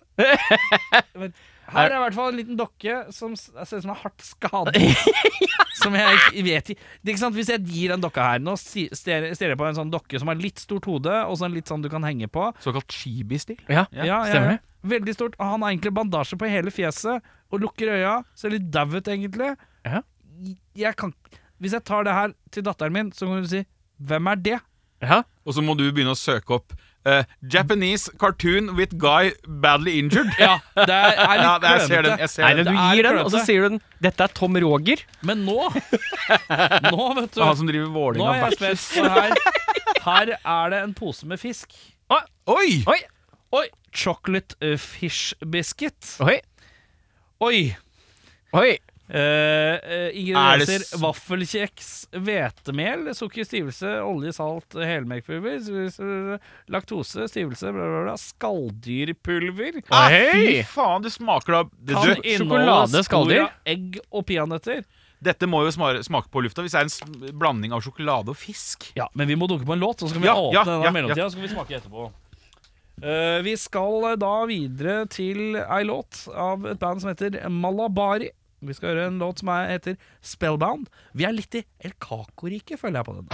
Men Her er i hvert fall en liten dokke som s- ser ut som er hardt skadet. som jeg ikke vet i- det er ikke sant? Hvis jeg gir den dokka her nå, si- stirrer stirrer jeg på en sånn dokke som har litt stort hode, og sånn litt sånn du kan henge på.
Såkalt chibi-stil.
Ja.
Ja, ja,
stemmer det.
ja. Veldig stort. Og han har egentlig bandasje på hele fjeset og lukker øya. Ser litt dau ut, egentlig.
Ja.
Jeg kan Hvis jeg tar det her til datteren min, så kan du si 'Hvem er det?'
Ja.
Og så må du begynne å søke opp eh, Japanese cartoon with guy badly injured.
Ja, det er, er litt
Ja, det, jeg ser den.
klønete.
Jeg ser
Nei,
den.
det, du
Det er
gir den,
klønete.
og så sier du den 'Dette er Tom Roger'.
Men nå Nå, vet du.
Det er han som driver
Nå er
Vålerenga.
jeg spent, for her, her er det en pose med fisk.
Oi!
Oi!
Oi! Chocolate uh, fish biscuit.
Oi!
Oi!
Oi!
Eh, eh,
Er det
ingredienser
s-
vaffelkjeks, hvetemel, sukker, stivelse, olje, salt, helmelkpulver, s- s- laktose, stivelse, bla, bla, bla, skalldyrpulver.
Ah,
Oi.
fy faen, det smaker da det,
Kan
du,
inneholde
sjokolade,
spor
skalldyr?
av egg og peanøtter.
Dette må jo smare- smake på lufta hvis det er en s- blanding av sjokolade og fisk.
Ja, men vi må dunke på en låt, så skal vi
Ja,
åpne
ja,
den
ja,
i mellomtida. Så skal vi smake etterpå. Eh, vi skal eh, da videre til ei låt av et band som heter Malabari. Vi skal høre en låt som er, heter Spellbound. Vi er litt i El Caco-riket, føler jeg på den.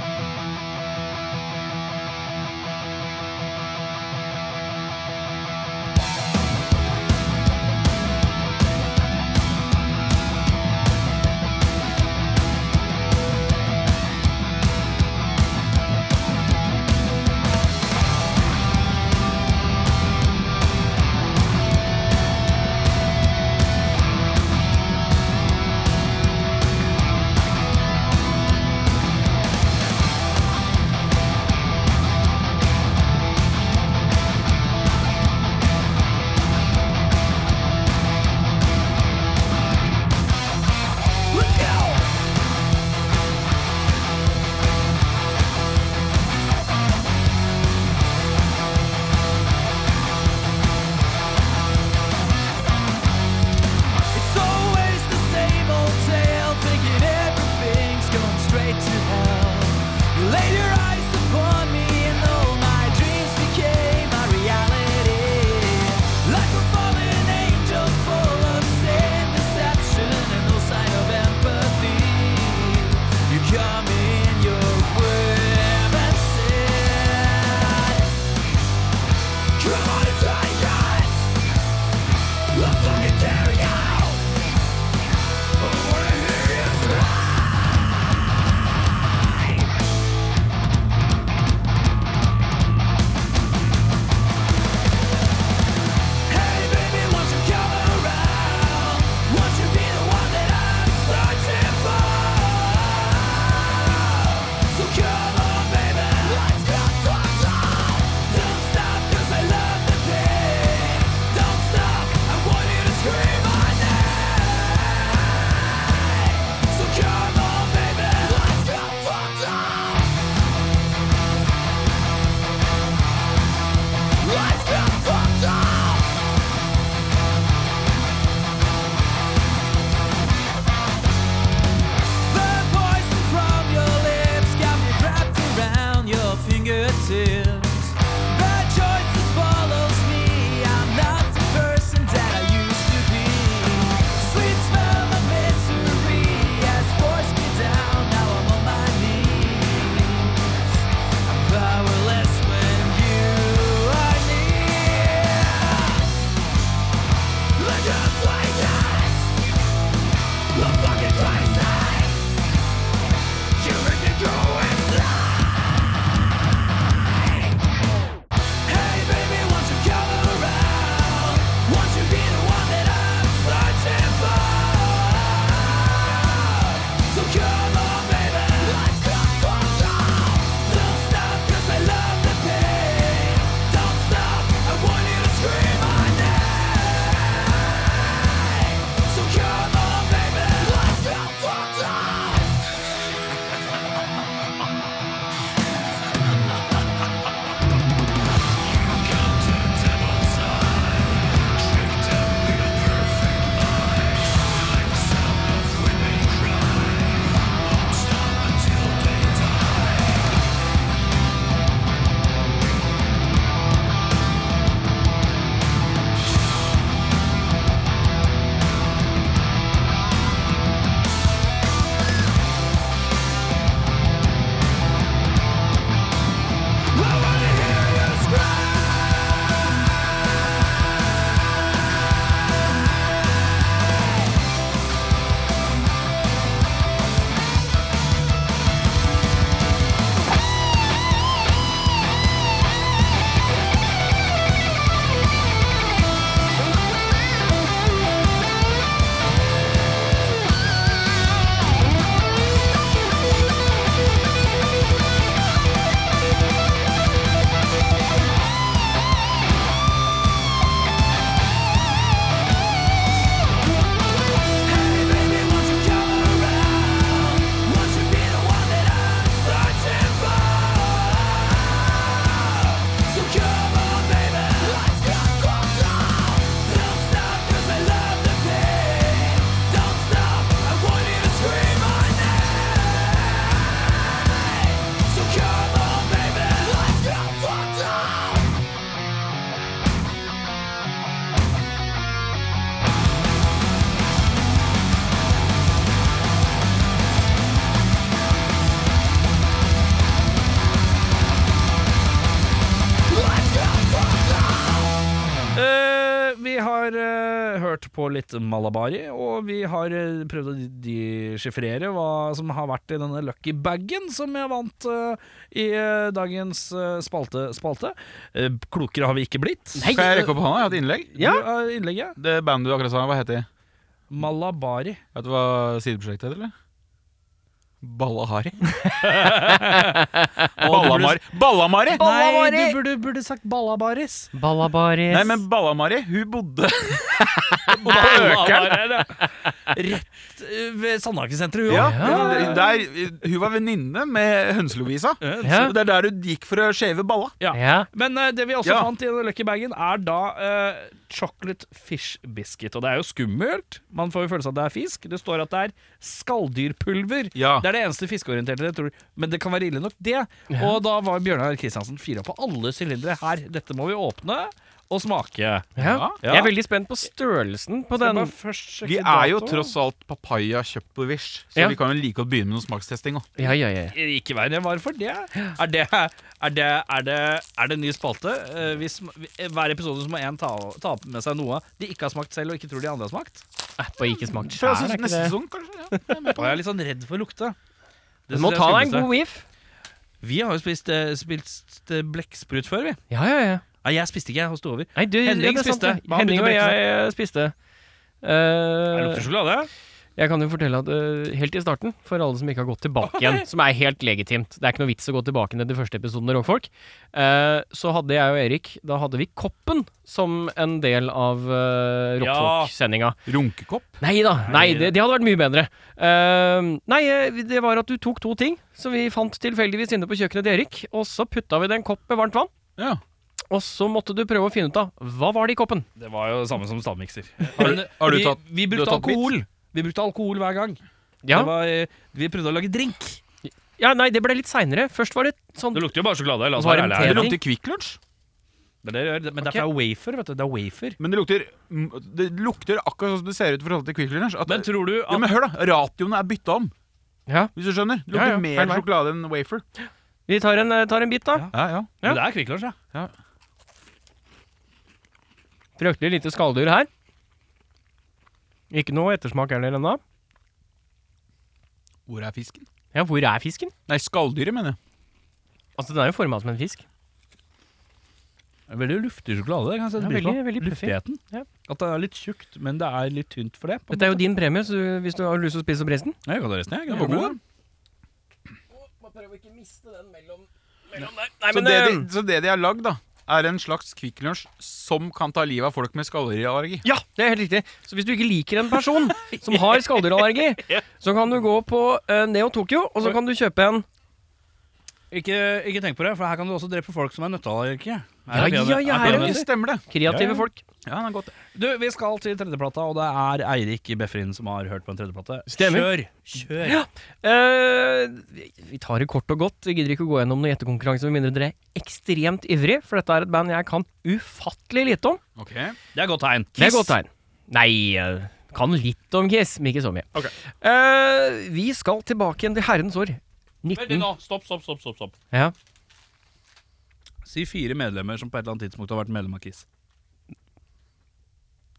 Eh, hørt på litt malabari, og vi har eh, prøvd å dechiffrere hva som har vært i denne lucky bagen som jeg vant eh, i eh, dagens eh, spalte. spalte. Eh, klokere har vi ikke blitt.
Kan jeg rekke opp hånda? Jeg har et innlegg.
Ja. Du, eh, innlegget.
Det bandet du akkurat sa, hva heter de?
Malabari.
Vet du hva sideprosjektet heter, eller? Ballahari. Ballamari. Ballamari!
Nei, du burde, burde sagt ballabaris.
Ballabaris.
Nei, men Ballamari, hun bodde på Økeren.
Rett eh, ved Sandaker-senteret, jo. Eh,
Ja, der, hun var venninne med Hønselovisa.
Ja.
Så det er der hun gikk for å shave balla.
Ja.
ja.
Men eh, det vi også
Ja.
fant i denne lucky bagen, er da eh, chocolate fish biscuit. Og det er jo skummelt. Man får jo følelse av at det er fisk. Det står at det er skalldyrpulver.
Ja.
Det er det eneste fiskeorienterte jeg tror. Men det kan være ille nok, det. Og da var Bjørnar Kristiansen fire på alle sylindere. Her, dette må vi åpne og smake.
Ja.
Ja.
Jeg er veldig spent på størrelsen på den.
Vi er jo tross alt papaya kjøpt på Wish, så
Ja.
vi kan jo like å begynne med noe smakstesting. også.
Ja, ja, ja.
Ikke verre enn var for det. Er det, er det, er det, er det en ny spalte? Eh, Hvis, hver episode så må én ta, ta med seg noe de ikke har smakt selv, og ikke tror de andre har smakt.
På ikke smakt
Fra
sjæl, er ikke
neste
det?
sesong, kanskje? Ja, jeg er med
Og
på
jeg
det.
er litt sånn redd for lukte.
Du
Det
må
synes jeg
ta
er
deg en
skummeleste.
god whiff.
Vi har jo spist, eh, spist eh, blekksprut før, vi.
Ja, ja, ja.
Nei, jeg spiste ikke, jeg sto over.
Nei, du,
Henning
ja, det er sant,
spiste.
det.
Men han begynte
Henning
å
og
brekke
jeg eh, spiste.
Det
Eh,
lukter sjokolade.
jeg kan jo fortelle at eh, helt i starten, for alle som ikke har gått tilbake igjen, som er helt legitimt Det er ikke noe vits å gå tilbake til de første episodene Rockfolk. eh, så hadde jeg og Erik Da hadde vi Koppen som en del av uh, Rockfolk-sendinga.
Runkekopp?
Nei da. Nei, det, det hadde vært mye bedre. Ehm, nei, eh, det var at du tok to ting som vi fant tilfeldigvis inne på kjøkkenet til Erik, og så putta vi det i en kopp med varmt vann.
Ja.
Og så måtte du prøve å finne ut av hva var det i koppen.
Det var jo det samme som stavmikser.
har du
vi,
tatt-
vi
du har
brukte
tatt bit?
alkohol. Vi brukte alkohol hver gang.
Ja,
Det var, eh, vi prøvde å lage drink.
ja nei, det ble litt seinere. Først var det sånn
Det lukter jo bare sjokolade. La
oss være ærlige her.
Det lukter Kvikk Lunsj,
Det er det det gjør. Men derfor er wafer, vet du. Det er wafer.
men det lukter, det lukter akkurat sånn som det ser ut i forhold til Kvikk Lunsj. at-
Men tror du
Ja,
at
men hør, da. Radioene er bytta om,
Ja.
hvis du skjønner. Det
Ja,
lukter
ja, feil
mer
vei.
sjokolade enn wafer.
Vi tar en, eh, tar en bit, da.
Ja, ja.
Men Det er Kvikk Lunsj, ja.
Fryktelig lite skalldyr her. Ikke noe ettersmak heller ennå.
Hvor er fisken?
Ja, hvor er fisken?
Nei, skalldyret, mener jeg.
Altså, den er jo forma som en fisk.
Det er Veldig luftig sjokolade. Det kan jeg sette
Ja,
pris på.
veldig- veldig puffig.
Luftigheten.
Ja.
At det er litt tjukt, men det er litt tynt for det. på en
Dette er jo
måte.
din premie, så du, hvis du har lyst til å spise opp resten
Nei, Jeg kan ta resten, jeg.
Den var god, den.
Nei, ehm,
Så det, de,
eh,
så det de har lagd, da, er en slags Kvikk Lunsj som kan ta livet av folk med skalldyreallergi.
Ja, det er helt riktig. Så hvis du ikke liker en person som har skalldyrallergi, så kan du gå på eh, Neo Tokyo, og så kan du kjøpe en
Ikke, ikke tenk på det, for her kan du også drepe folk som er nøtteallergikere.
Ja, ja, ja, her er
Det stemmer, det.
kreative
Ja, ja.
folk.
Ja, den er godt.
Du, vi skal til tredjeplata, og det er Eirik Befrin som har hørt på en tredjeplate.
Stemmer.
Kjør! Kjør.
Eh, vi tar det kort og godt. Vi gidder ikke å gå gjennom noen gjettekonkurranse med mindre dere er ekstremt ivrig, for dette er et band jeg kan ufattelig lite om.
Ok.
Det er godt tegn.
Det er godt tegn. Nei, eh, kan litt om Kiss, men ikke så mye.
Ok.
Eh, vi skal tilbake igjen til herrens år.
Mm.
19.
nå. Stopp, stopp, stopp. stopp, stopp.
Ja.
Si fire medlemmer som på et eller annet tidspunkt har vært medlem av Kiss.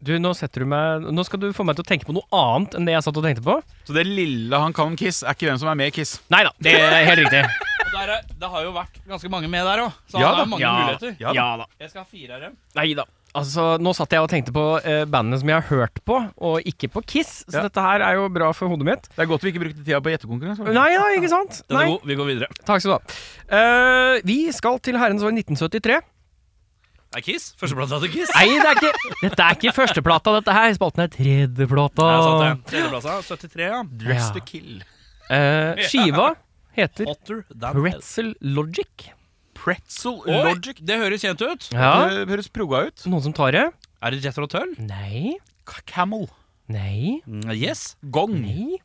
Du, nå setter du meg Nå skal du få meg til å tenke på noe annet enn det jeg satt og tenkte på.
Så det lille han kan om Kiss, er ikke hvem som er med i Kiss.
Nei da, det er helt riktig.
det har jo vært ganske mange med der òg, så
Ja da.
muligheter.
Ja,
Ja da.
Jeg skal ha fire av dem.
Nei da. Altså, nå satt jeg og tenkte på eh, bandene som jeg har hørt på, og ikke på Kiss. Så
Ja.
dette her er jo bra for hodet mitt.
Det er godt vi ikke brukte tida på gjettekonkurranse.
Nei da, ikke sant?
Den
Nei.
er god. Vi går videre.
Takk skal du ha. Eh, vi skal til herrens år 1973.
Det er Kiss. Førsteplata til Kiss.
Nei, det er ikke, dette er ikke førsteplata, dette her. Spalten er tredjeplata.
Jeg sa det. Tredjeplata, 73, ja.
Dress
Ja.
to kill.
Eh, skiva heter
Hotter than
Pretzel Logic.
Pretzel
Oi,
Logic.
det høres kjent ut.
Ja.
Det høres proga ut.
Noen som tar det?
Er det Jethro Tull?
Nei.
K- Camel.
Nei.
Mm. Yes.
Gong.
Nei.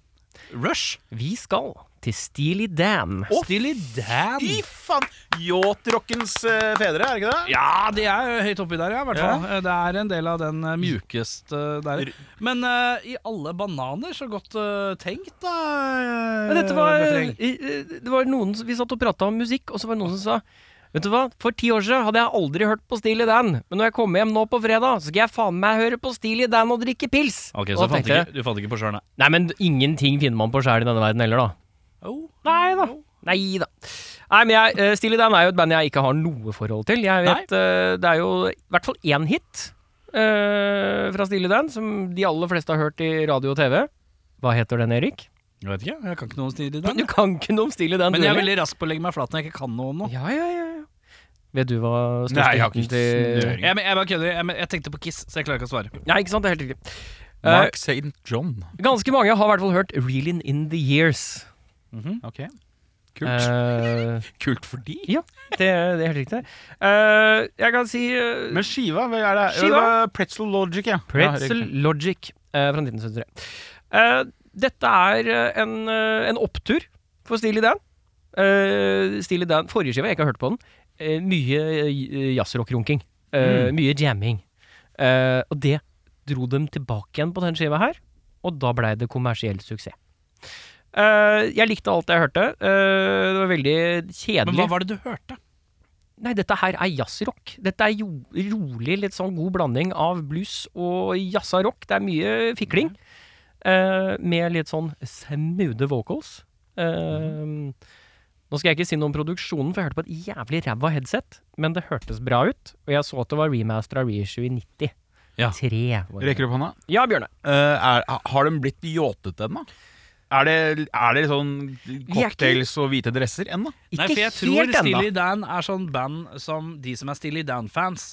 Rush.
Vi skal til Steely Dan.
Steely Dan.
Fy faen! Yacht-rockens eh, fedre, er det ikke det?
Ja, de er jo høyt oppi der, ja, i hvert
Ja.
fall. Eh, Det er en del av den eh, mjukeste der. Men eh, i alle bananer, så godt eh, tenkt, da. eh,
Men dette var, eh,
refreng.
i- i- det var noen som- Vi satt og prata om musikk, og så var det noen som sa Vet du hva? For ti år siden hadde jeg aldri hørt på Steely Dan, men når jeg kommer hjem nå på fredag, så skal jeg faen meg høre på Steely Dan og drikke pils.
Ok,
Og
Så
da
du fant
tenkte jeg,
ikke, du fant ikke på sjøl, nei?
Nei, men ingenting finner man på sjæl i denne verden heller, da.
Oh.
Nei da. Nei da. Nei, men jeg, eh, Steely Dan er jo et band jeg ikke har noe forhold til. Jeg vet, eh, Det er jo i hvert fall én hit eh, fra Steely Dan som de aller fleste har hørt i radio og TV. Hva heter den, Erik?
Jeg vet ikke, jeg kan ikke noe om stil i
Men
den.
du kan ikke noe om Steely Dan.
Men jeg er
du heller.
veldig rask på å legge meg flat når jeg ikke kan noe om noe.
Ja, ja, ja. ja. Vet du hva største
Nei, jeg har ikke
hiten til
snøring.
Jeg, men jeg bare kødder. Jeg, men jeg tenkte på Kiss, så jeg klarer ikke å svare.
Nei, ikke sant? Det er helt riktig. Eh,
Mark St. John.
ganske mange har i hvert fall hørt Reelin' in the Years.
Mm.
Ok Kult.
Eh,
Kult for de.
det, det er helt riktig. Eh, jeg kan si eh,
Men skiva, hva er det?
Skiva?
Det var Pretzel Logic, ja.
Pretzel
Ja,
Logic eh, fra 1973. Eh, dette er eh, en, eh, en opptur for Steely Dan. Uh, Steely Dan Forrige skive, jeg ikke har hørt på den. eh, mye uh, jazzrock-runking.
Mm.
Eh, Mye jamming. Eh, og det dro dem tilbake igjen på den skiva her, og da blei det kommersiell suksess. Eh, jeg likte alt jeg hørte. Eh, det var veldig kjedelig.
Men hva var det du hørte?
Nei, dette her er jazzrock. Dette er jo, rolig, litt sånn god blanding av blues og jazza rock. Det er mye fikling. eh, med litt sånn smoothe vocals. Eh, Nå skal jeg ikke si noe om produksjonen, for jeg hørte på et jævlig ræva headset. Men det hørtes bra ut, og jeg så at det var remastera reissue i 90.
Ja.
Tre var det.
Rekker opp hånda.
Ja, Bjørne.
Eh, er, har de blitt jåtete ennå? Er det, er det sånn
er ikke-
cocktails og hvite dresser ennå?
Ikke
Nei, for jeg tror
helt ennå.
Steely Dan er sånn band som de som er Steely Dan-fans,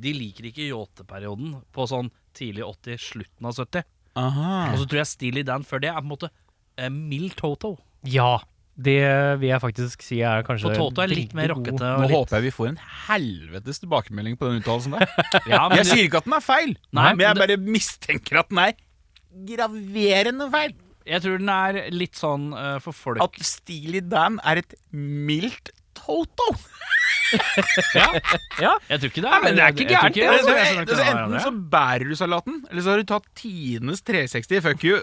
de liker ikke yacht-perioden på sånn tidlig 80, slutten av 70. Og så tror jeg Steely Dan før det er på en måte eh, mild Toto.
Ja. Det vil jeg faktisk si er kanskje
For Toto er litt mer
veldig god.
rockete.
Nå
Og litt.
håper jeg vi får en helvetes tilbakemelding på den uttalelsen der.
Ja, men
Jeg sier ikke at den er feil,
Nei,
men jeg bare mistenker at den er graverende feil.
jeg tror den er litt sånn eh, for folk.
At Steely Dan er et mildt Toto.
jeg tror ikke det
Nei, men det er
jeg tror
ikke gærent. det.
jeg
Altså,
tror jeg skjønner ikke
altså,
det er
enten
hverandre.
så bærer du salaten, eller så har du tatt tidenes 360 fuck you,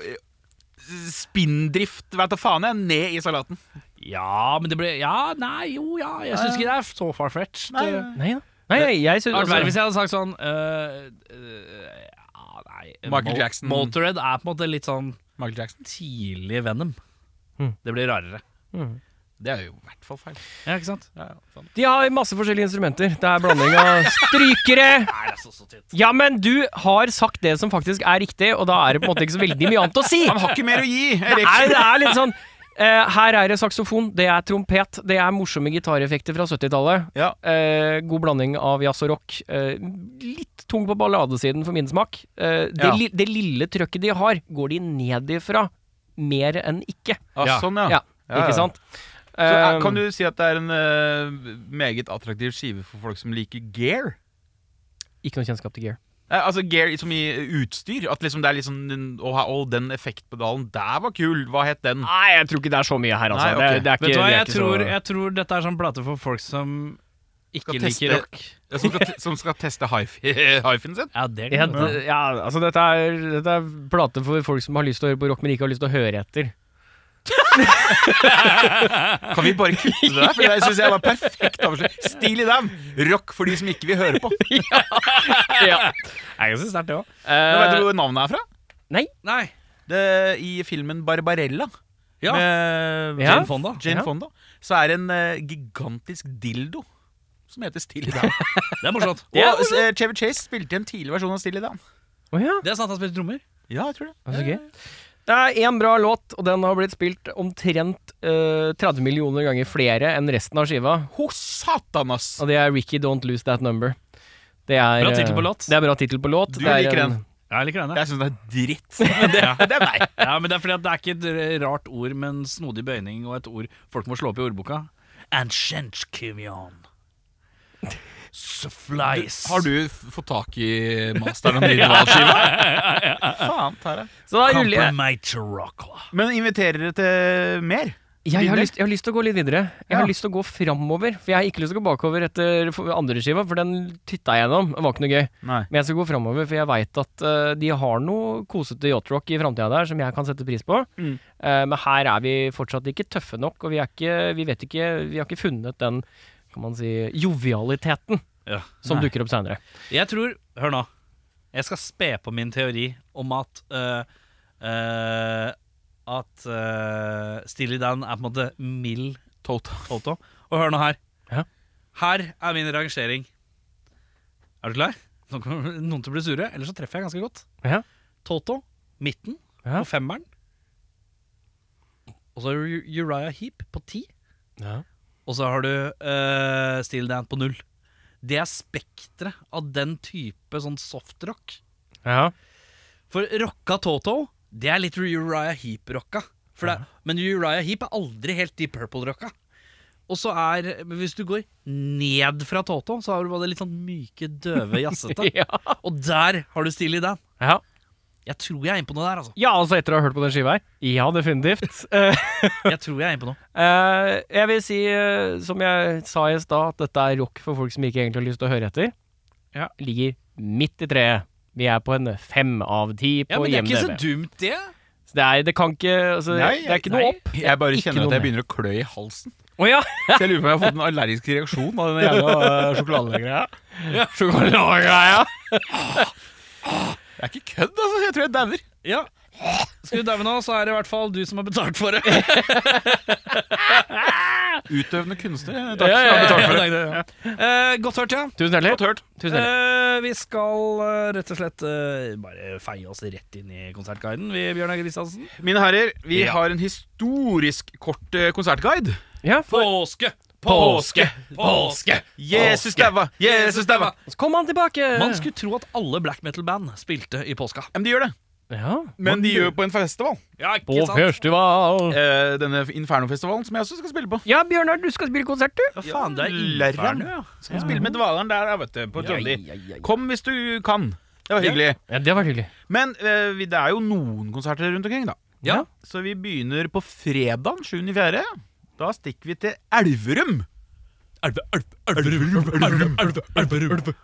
spinndrift, vet du faen jeg, ned i salaten.
Ja, men det ble Ja, nei, jo, ja. Jeg syns ikke det er så far-fetched.
Nei, ja.
Det
Nei da. Nei, jeg, jeg synes,
hadde vært
altså-
hvis jeg hadde sagt sånn eh, eh, ja, nei,
Michael Jackson.
Motorhead er på en måte litt sånn
Michael Jackson.
tidlig Venom.
Mm.
Det blir rarere.
Det er jo i hvert fall feil.
Ja, ikke sant?
Ja, ja, sant.
De har masse forskjellige instrumenter. Det er blanding av strykere
Nei, det er så, så tett.
Ja, men du har sagt det som faktisk er riktig, og da er det på en måte ikke så veldig mye annet å si.
Han har ikke mer å gi!
Det
Erik.
er, det er litt sånn eh, Her er det saksofon, det er trompet, det er morsomme gitareffekter fra 70-tallet.
Ja.
Eh, god blanding av jazz og rock. Eh, litt tung på balladesiden for min smak. Eh, det,
Ja.
li, det lille trøkket de har, går de ned ifra mer enn ikke.
Ah, sånn, ja. Ja,
Ja,
ja.
ikke sant?
Så, eh,
Eh,
kan du si at det er en eh, meget attraktiv skive for folk som liker gear?
Ikke noe kjennskap til gear.
Eh, altså gear som i utstyr? At liksom det er liksom den- Å, ha- å, den effektpedalen der var kul! Hva het den?
Nei, jeg tror ikke det er så mye her,
altså. Nei, ok. Det- det
Vet du hva, jeg tror, jeg tror dette er sånn plate for folk som ikke
Skal
liker
teste-
rock.
Som skal, som skal teste hifen sin?
Ja, det
ja,
kan du
d- ja, altså dette er, dette er plate for folk som har lyst til å høre på rock, men ikke har lyst til å høre etter.
Kan vi bare kutte det der? For det syns jeg var perfekt avslørt. Steely Dan! Rock for de som ikke vil høre på.
ja.
Jeg synes sterkt det også.
Men vet du
Eh,
hvor navnet er fra?
Nei.
Det, I filmen Barbarella
Ja.
med
Ja.
Jane Fonda.
Jane
Ja.
Fonda, så er det en eh, gigantisk dildo som heter Steely Dan.
Det er morsomt.
Og eh, Chevy Chase spilte i en tidlig versjon av Steely Dan.
å ja.
Det er sant han spiller trommer.
Ja, jeg tror det.
Det er så gøy. Det er én bra låt, og den har blitt spilt omtrent eh, 30 millioner ganger flere enn resten av skiva.
Ho satan, ass!
Og det er Ricky Don't Lose That Number. Det er,
Bra tittel på
eh,
låt.
Det er bra tittel på låt.
Du
det er
liker
en-
den.
Jeg liker den, jeg.
Jeg syns det er dritt. Men det, det er meg.
Ja, men det er fordi at det er ikke et r- rart ord, men snodig bøyning og et ord folk må slå opp i ordboka. And shenchkimion. Suflies.
Har du f- fått tak i masteren om rivalskiva? Faen, Tara.
Så da ruller jeg.
Compromaterocla.
Men inviterer dere til mer?
Jeg, jeg, har
Videre?
lyst, jeg har lyst til å gå litt videre. Jeg har
Ja.
lyst til å gå framover. For jeg har ikke lyst til å gå bakover etter f- andre skiva, for den titta jeg gjennom. Det var ikke noe gøy.
Nei.
Men jeg skal gå framover, for jeg veit at eh, de har noe kosete yacht-rock i framtida der som jeg kan sette pris på.
Mm.
Eh, men her er vi fortsatt ikke tøffe nok, og vi, er ikke, vi vet ikke Vi har ikke funnet den skal man si, jovialiteten
Ja.
som
Nei.
dukker opp seinere.
Jeg tror Hør nå. Jeg skal spe på min teori om at øh, øh, At øh, Steely Dan er på en måte mild Toto. Og hør nå her.
Ja.
Her er min rangering. Er du klar? Nå kommer noen til å bli sure, ellers så treffer jeg ganske godt.
Ja.
Toto, midten
Ja.
på femmeren. Og så har du Uriah Heap på ti.
Ja.
Og så har du uh, Steel Dan på null. Det er spekteret av den type sånn softrock.
Ja.
For rocka Toto, det er litt Uriah Heap-rocka. For det, Men Uriah Heap er aldri helt Deep Purple-rocka. Og så er, men Hvis du går ned fra Toto, så har du bare det litt sånn myke, døve, jazzete.
Ja.
Og der har du Steely Dan.
ja.
Jeg tror jeg er inne på noe der, altså.
Ja, altså etter å ha hørt på den skiva her. Ja, definitivt. Eh,
Jeg tror jeg er inne på noe.
eh, jeg vil si, eh, som jeg sa i stad, at dette er rock for folk som ikke egentlig har lyst til å høre etter.
Ja.
Ligger midt i treet. Vi er på en fem av ti på IMDb.
dumt, det.
Så det, er, det kan ikke altså,
Nei,
Det er ikke noe
nei.
opp.
Jeg bare
Ikke
kjenner
noe
at jeg
mer.
begynner å klø i halsen.
Å ja!
Så jeg lurer på om jeg har fått en allergisk reaksjon av den jævla
eh,
øh, sjokoladegreia.
Sjokoladegreia!
Det er ikke kødd, altså. Jeg tror jeg dauer.
Ja. Skal du daue nå, så er det i hvert fall du som har betalt for det.
Utøvende kunstner.
Ja,
Takk.
ja, ja, ja.
Eh, godt hørt, ja.
Tusen hjertelig. Tusen hjertelig.
Eh, vi skal eh, rett og slett eh, bare feie oss rett inn i konsertguiden, vi, Bjørnar Kristiansen.
Eh, Mine herrer, vi har en historisk kort eh, konsertguide.
Ja, for
Påske!
Påske!
Påske!
Jesus daua! Jesus daua!
Så kom han tilbake!
Man skulle tro at alle black metal-band spilte i påska.
Men de gjør det.
ja.
Men de gjør det på en festival.
Ja, ikke
På festival.
Eh, denne Inferno-festivalen som jeg også skal spille på.
Ja, Bjørnar, du skal spille konsert, du.
Ja, faen, det er
Læreren.
Inferno, ja.
Skal spille med Dvaleren der, vet du. På Trolley. Kom hvis du kan. Det var hyggelig.
Ja, Det var hyggelig.
Men eh, vi- det er jo noen konserter rundt omkring, da.
Ja.
Så vi begynner på fredag 7.4. Da stikker vi til Elverum.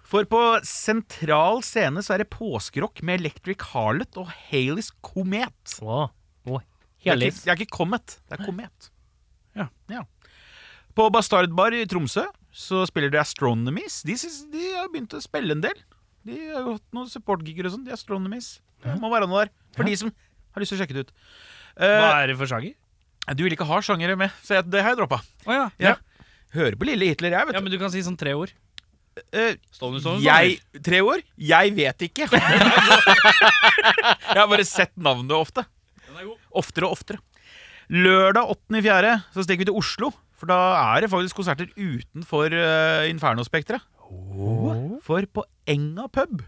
For på sentral scene så er det påskerock med Electric Harlot og Haleys Komet.
Wow. Wow.
Det er,
Herlig.
ikke, det er ikke Comet, det er Komet. Ja. På Bastardbar i Tromsø så spiller de Astronomies. De, synes- de har begynt å spille en del. De har jo hatt noen supportgigger og sånn. De Astronomies. Det må være noe der. For de som har lyst til å sjekke det ut.
Hva
Eh,
er det for sjanger?
du vil ikke ha sjangere med, så jeg, det har jeg droppa.
Å ja.
Ja. Hører på Lille Hitler, jeg, vet
ja, men du kan si sånn tre ord.
du. Eh,
Stående, stående,
jeg Tre år? Jeg vet ikke. jeg har bare sett navnet ofte. Oftere og oftere. Lørdag 8.4. så stikker vi til Oslo. For da er det faktisk konserter utenfor uh, Inferno-spekteret. For på Enga pub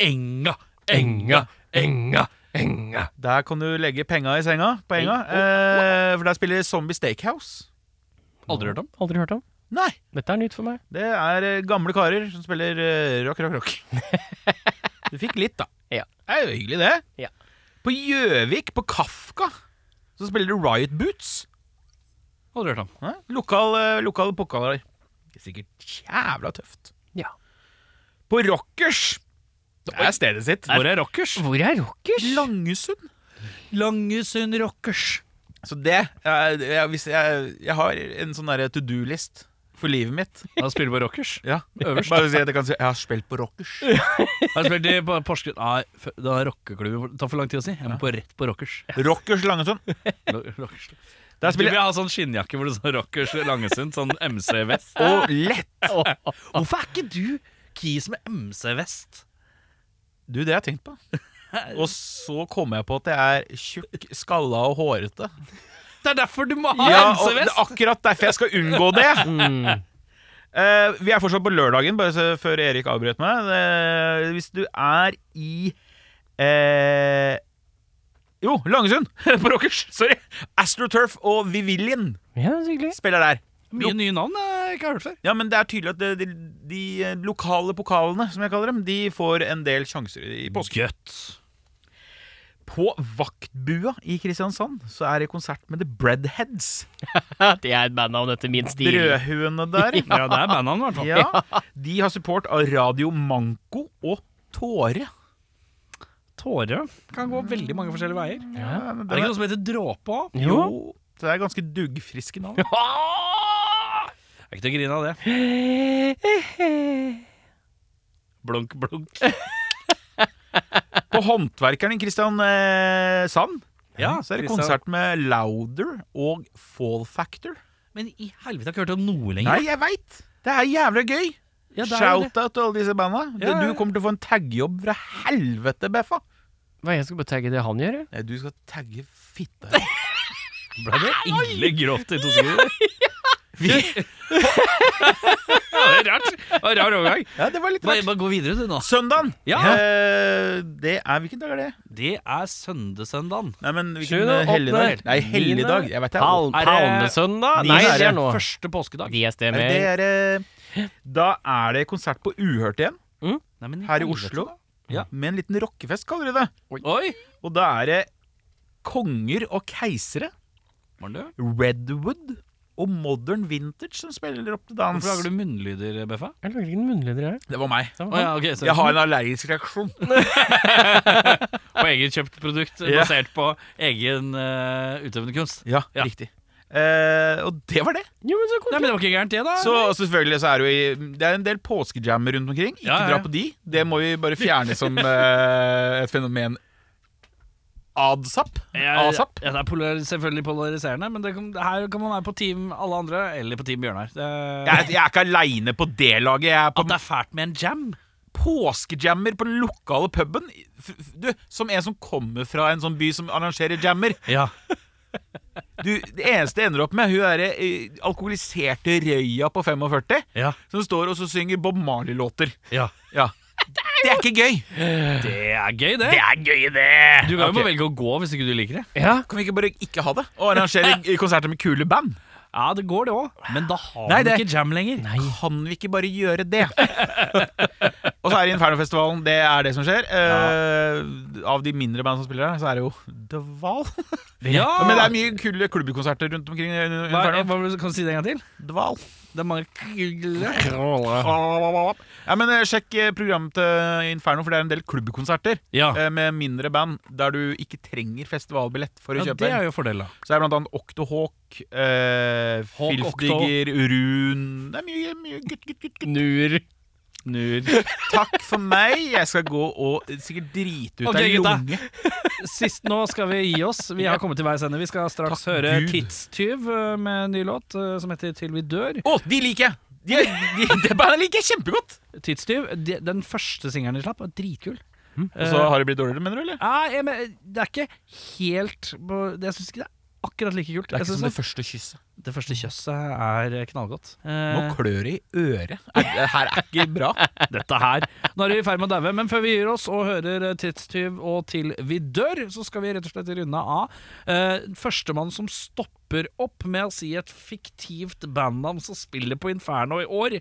Enga!
Enga, enga, enga.
Der kan du legge penga i senga. På Enga eh, For der spiller Zombie Steakhouse.
Aldri hørt om.
Aldri hørt om.
Nei!
Dette er nytt for meg.
Det er eh, gamle karer som spiller eh, rock, rock, rock. Du fikk litt, da.
Ja.
Det er jo hyggelig, det.
Ja.
På Gjøvik, på Kafka, så spiller du Riot Boots.
Aldri hørt om.
Hæ? Lokal, eh, lokal pokaler. Det er sikkert jævla tøft.
Ja.
På Rockers. Det er stedet sitt.
Hvor er rockers?
Hvor er rockers?
Langesund.
Langesund Rockers.
Så det eh, jeg, hvis jeg, jeg har en sånn derre to do-list for livet mitt.
Da spiller vi på rockers.
Ja,
Øverst.
Bare si at jeg kan si jeg har spilt på Rockers.
Har du spilt i på Porsgrunn? Nei, f- det er rockeklubb. Det tar for lang tid å si. Jeg må på rett på rockers.
Rockers Langesund.
Lo- rockers.
Der
Jeg spiller
spiller
jeg har sånn skinnjakke hvor det står Rockers Langesund, sånn MC-vest.
Og lett.
Hvorfor er ikke du kis med MC-vest?
Du, det har jeg tenkt på. Og så kom jeg på at jeg er tjukk, skalla og hårete.
Det er derfor du må ha
og det er
MC-vest!
akkurat derfor jeg skal unngå det.
Mm.
Eh, vi er fortsatt på lørdagen, bare så før Erik avbrøt meg. Eh, hvis du er i eh, Jo, Langesund! på Rockers. Sorry. AstroTurf og Vivillian
Ja, så hyggelig.
spiller der.
Mye nye navn jeg ikke har hørt før.
Ja, men det er tydelig at de, de, de lokale pokalene, som jeg kaller dem, de får en del sjanser i påsken.
Gøtt.
På Vaktbua i Kristiansand så er det konsert med The Breadheads.
Det er et bandnavn etter min stil.
Brødhuene der.
Ja, det er bandnavn, i hvert fall.
Ja. De har support av Radio Manko og Tåre.
Tåre kan gå veldig mange forskjellige veier. Er
Ja.
Er
det ikke sånn- noe som heter dråpe òg?
Jo.
Så det er ganske duggfriske navn.
Er Det er ikke til å grine av det. Blunk, blunk.
På Håndverkeren i Kristiansand ja, så er det
Kristian-
konsert med Louder og Fall Factor.
Men i helvete, jeg har ikke hørt om noe lenger.
Nei, jeg veit! Det er jævlig gøy!
Ja, det er jo det.
Shout-out til alle disse banda. Du-
Ja, ja.
Du kommer til å få en taggejobb fra helvete, Beffa.
Hva, jeg skal bare tagge det han gjør? jeg?
Nei, Eh, du skal tagge fitta.
Ble det ille grovt i to sekunder? Ja, det er rart. Det var en Rar overgang.
Ja, det var litt
Bare,
rart.
bare gå videre, du, nå.
Søndagen!
Ja.
Eh, det er Hvilken dag er det?
Det er søndesøndagen.
Nei, men hvilken
Sjuende,
eh, helligdag?
åttende,
Nei, helligdag. Jeg vet det.
Pal
Er det-
Palmesøndag? Nei, det er nå.
Første påskedag.
De
Nei, det
stemmer.
er, eh, da er det konsert på Uhørt igjen,
Nei, men
her i
helvete.
Oslo.
Ja.
Med en liten rockefest, kaller de det.
Oi!
Og da er det konger og keisere,
Var den død?
Redwood og Modern Vintage som spiller opp til dans.
Hvorfor lager du munnlyder, Beffa?
Jeg lager ikke munnlyder, jeg.
Det var meg.
Å ja, ok, så
Jeg har en allergisk reaksjon.
På egenkjøpt produkt
Ja.
basert på egen eh, utøvende kunst.
Ja,
Ja.
riktig. Eh, og det var det.
Jo, men så
Nei, men det var ikke gærent, det, da.
Så og selvfølgelig så er det jo i, Det er en del påskejammer rundt omkring. Ikke
Ja, ja, ja.
dra på de. Det må vi bare fjerne som eh, et fenomen. Adsap.
Ja,
Asap.
Ja, det er polar selvfølgelig polariserende, men det kan, her kan man være på team alle andre, eller på team Bjørnar. Det,
Jeg, jeg er ikke aleine på det laget. Jeg er på
at det er fælt med en jam.
påskejammer på den lokale puben. F- f- Du, som en som kommer fra en sånn by som arrangerer jammer.
Ja.
Du, Det eneste jeg ender opp med, hun derre eh, alkoholiserte røya på 45
Ja.
som står og så synger Bob Marley-låter.
Ja.
Ja. Det er ikke gøy!
Det er gøy, det.
er gøy, det!
Du kan jo bare velge å gå hvis ikke du liker det.
Ja,
Kan vi ikke bare ikke ha det? Og arrangere i- konserter med kule band?
Ja, det går det òg, men da har
Nei,
du
det-
ikke jam lenger.
Kan vi ikke bare gjøre det? og så er det Infernofestivalen. Det er det som skjer. Eh, av de mindre band som spiller her, så er det jo Dval.
Ja,
Men det er mye kule klubbkonserter rundt omkring. i
Ah! hva, hva,
Inferno.
Kan du si det en gang til?
Dval.
Det er mange kule
Ja, men eh, Sjekk eh, programmet til Inferno, for det er en del klubbkonserter
Ja,
eh, med mindre band der du ikke trenger festivalbillett for å
ja
kjøpe.
det
en.
er jo fordel, da.
Så er det blant annet Octohawk, eh,
Hawk,
Filfdigger, Run Det er mye, mye gutt, gutt, gutt, gutt.
Nur.
Takk for meg. Jeg skal gå og sikkert drite ut
Ok,
ei
gutta.
lunge.
Sist nå skal vi gi oss. Vi har kommet til veis ende. Vi skal straks
Takk
høre
Gud.
Tidstyv eh, med en ny låt eh, som heter Til vi dør.
Å, de liker jeg! De, de, det bandet liker jeg kjempegodt!
Tidstyv, de, den første singelen de slapp, var dritkul.
Og så har det blitt dårligere, mener du? eller?
Nei, jeg, men, det er ikke helt på- Jeg syns ikke det er akkurat like kult.
Det er
Jeg
ikke som
synes
det første kysset.
det, det første kjøsset er knallgodt.
Nå
Eh,
klør det i øret. Er, det her er ikke bra.
dette her. Nå er vi i ferd med å daue, men før vi gir oss og hører eh, Tidstyv og Til vi dør, så skal vi rett og slett runde av. Eh, Førstemann som stopper opp med å si et fiktivt bandnavn som spiller på Inferno i år.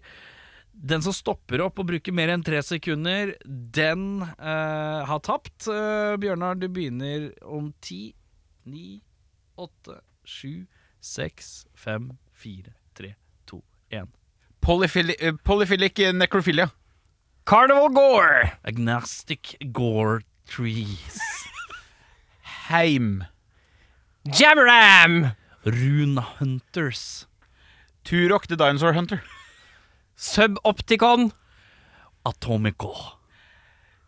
Den som stopper opp og bruker mer enn tre sekunder, den eh, har tapt. Eh, Bjørnar, du begynner om ti, ni, åtte, sju, seks, fem, fire, tre, to, én.
Polyphili eh, polyphilic necrophilia.
Carnival Gore.
Agnostic Gore Trees.
Heim.
Jammeram.
Runa Hunters.
Turok the Dinosaur Hunter.
Subopticon.
Atomico.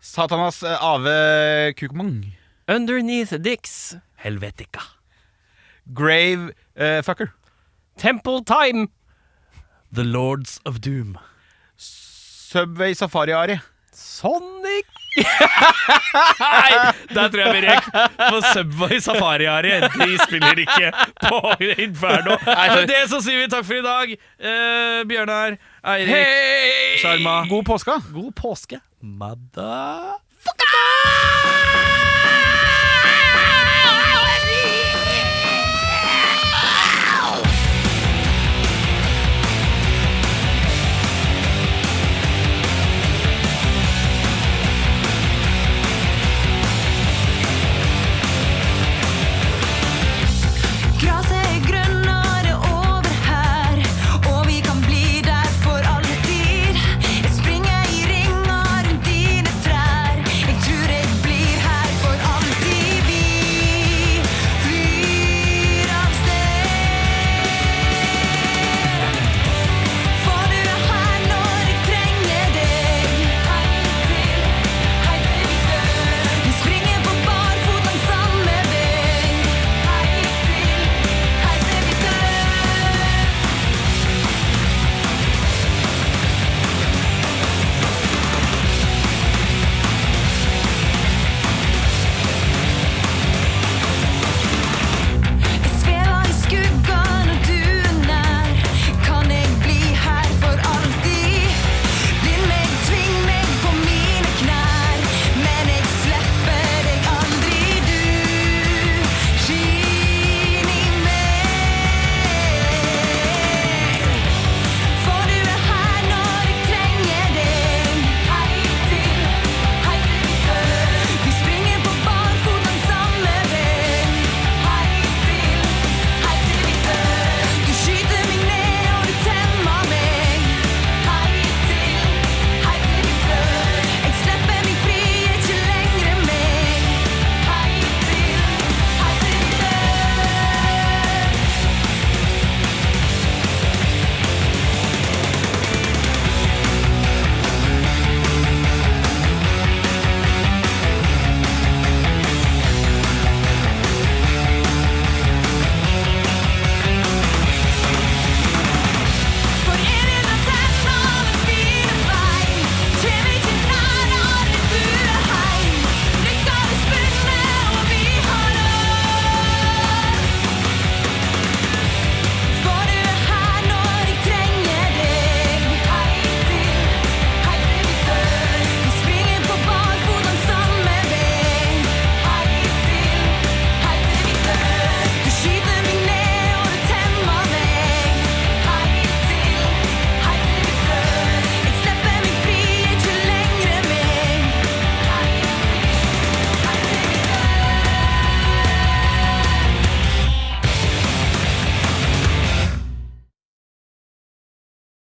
Satanas eh, Ave Kukmong.
Underneath Dicks.
Helvetica.
Grave eh, Fucker.
Temple Time.
The Lords of Doom.
Subway Safari-Ari.
Sonic
Der tror jeg vi røk på Subway Safari Ari. De spiller ikke på Inferno. Med det så sier vi takk for i dag. Eh, Bjørnar, Eirik, Sjarma.
God påske!
God påske. Madda...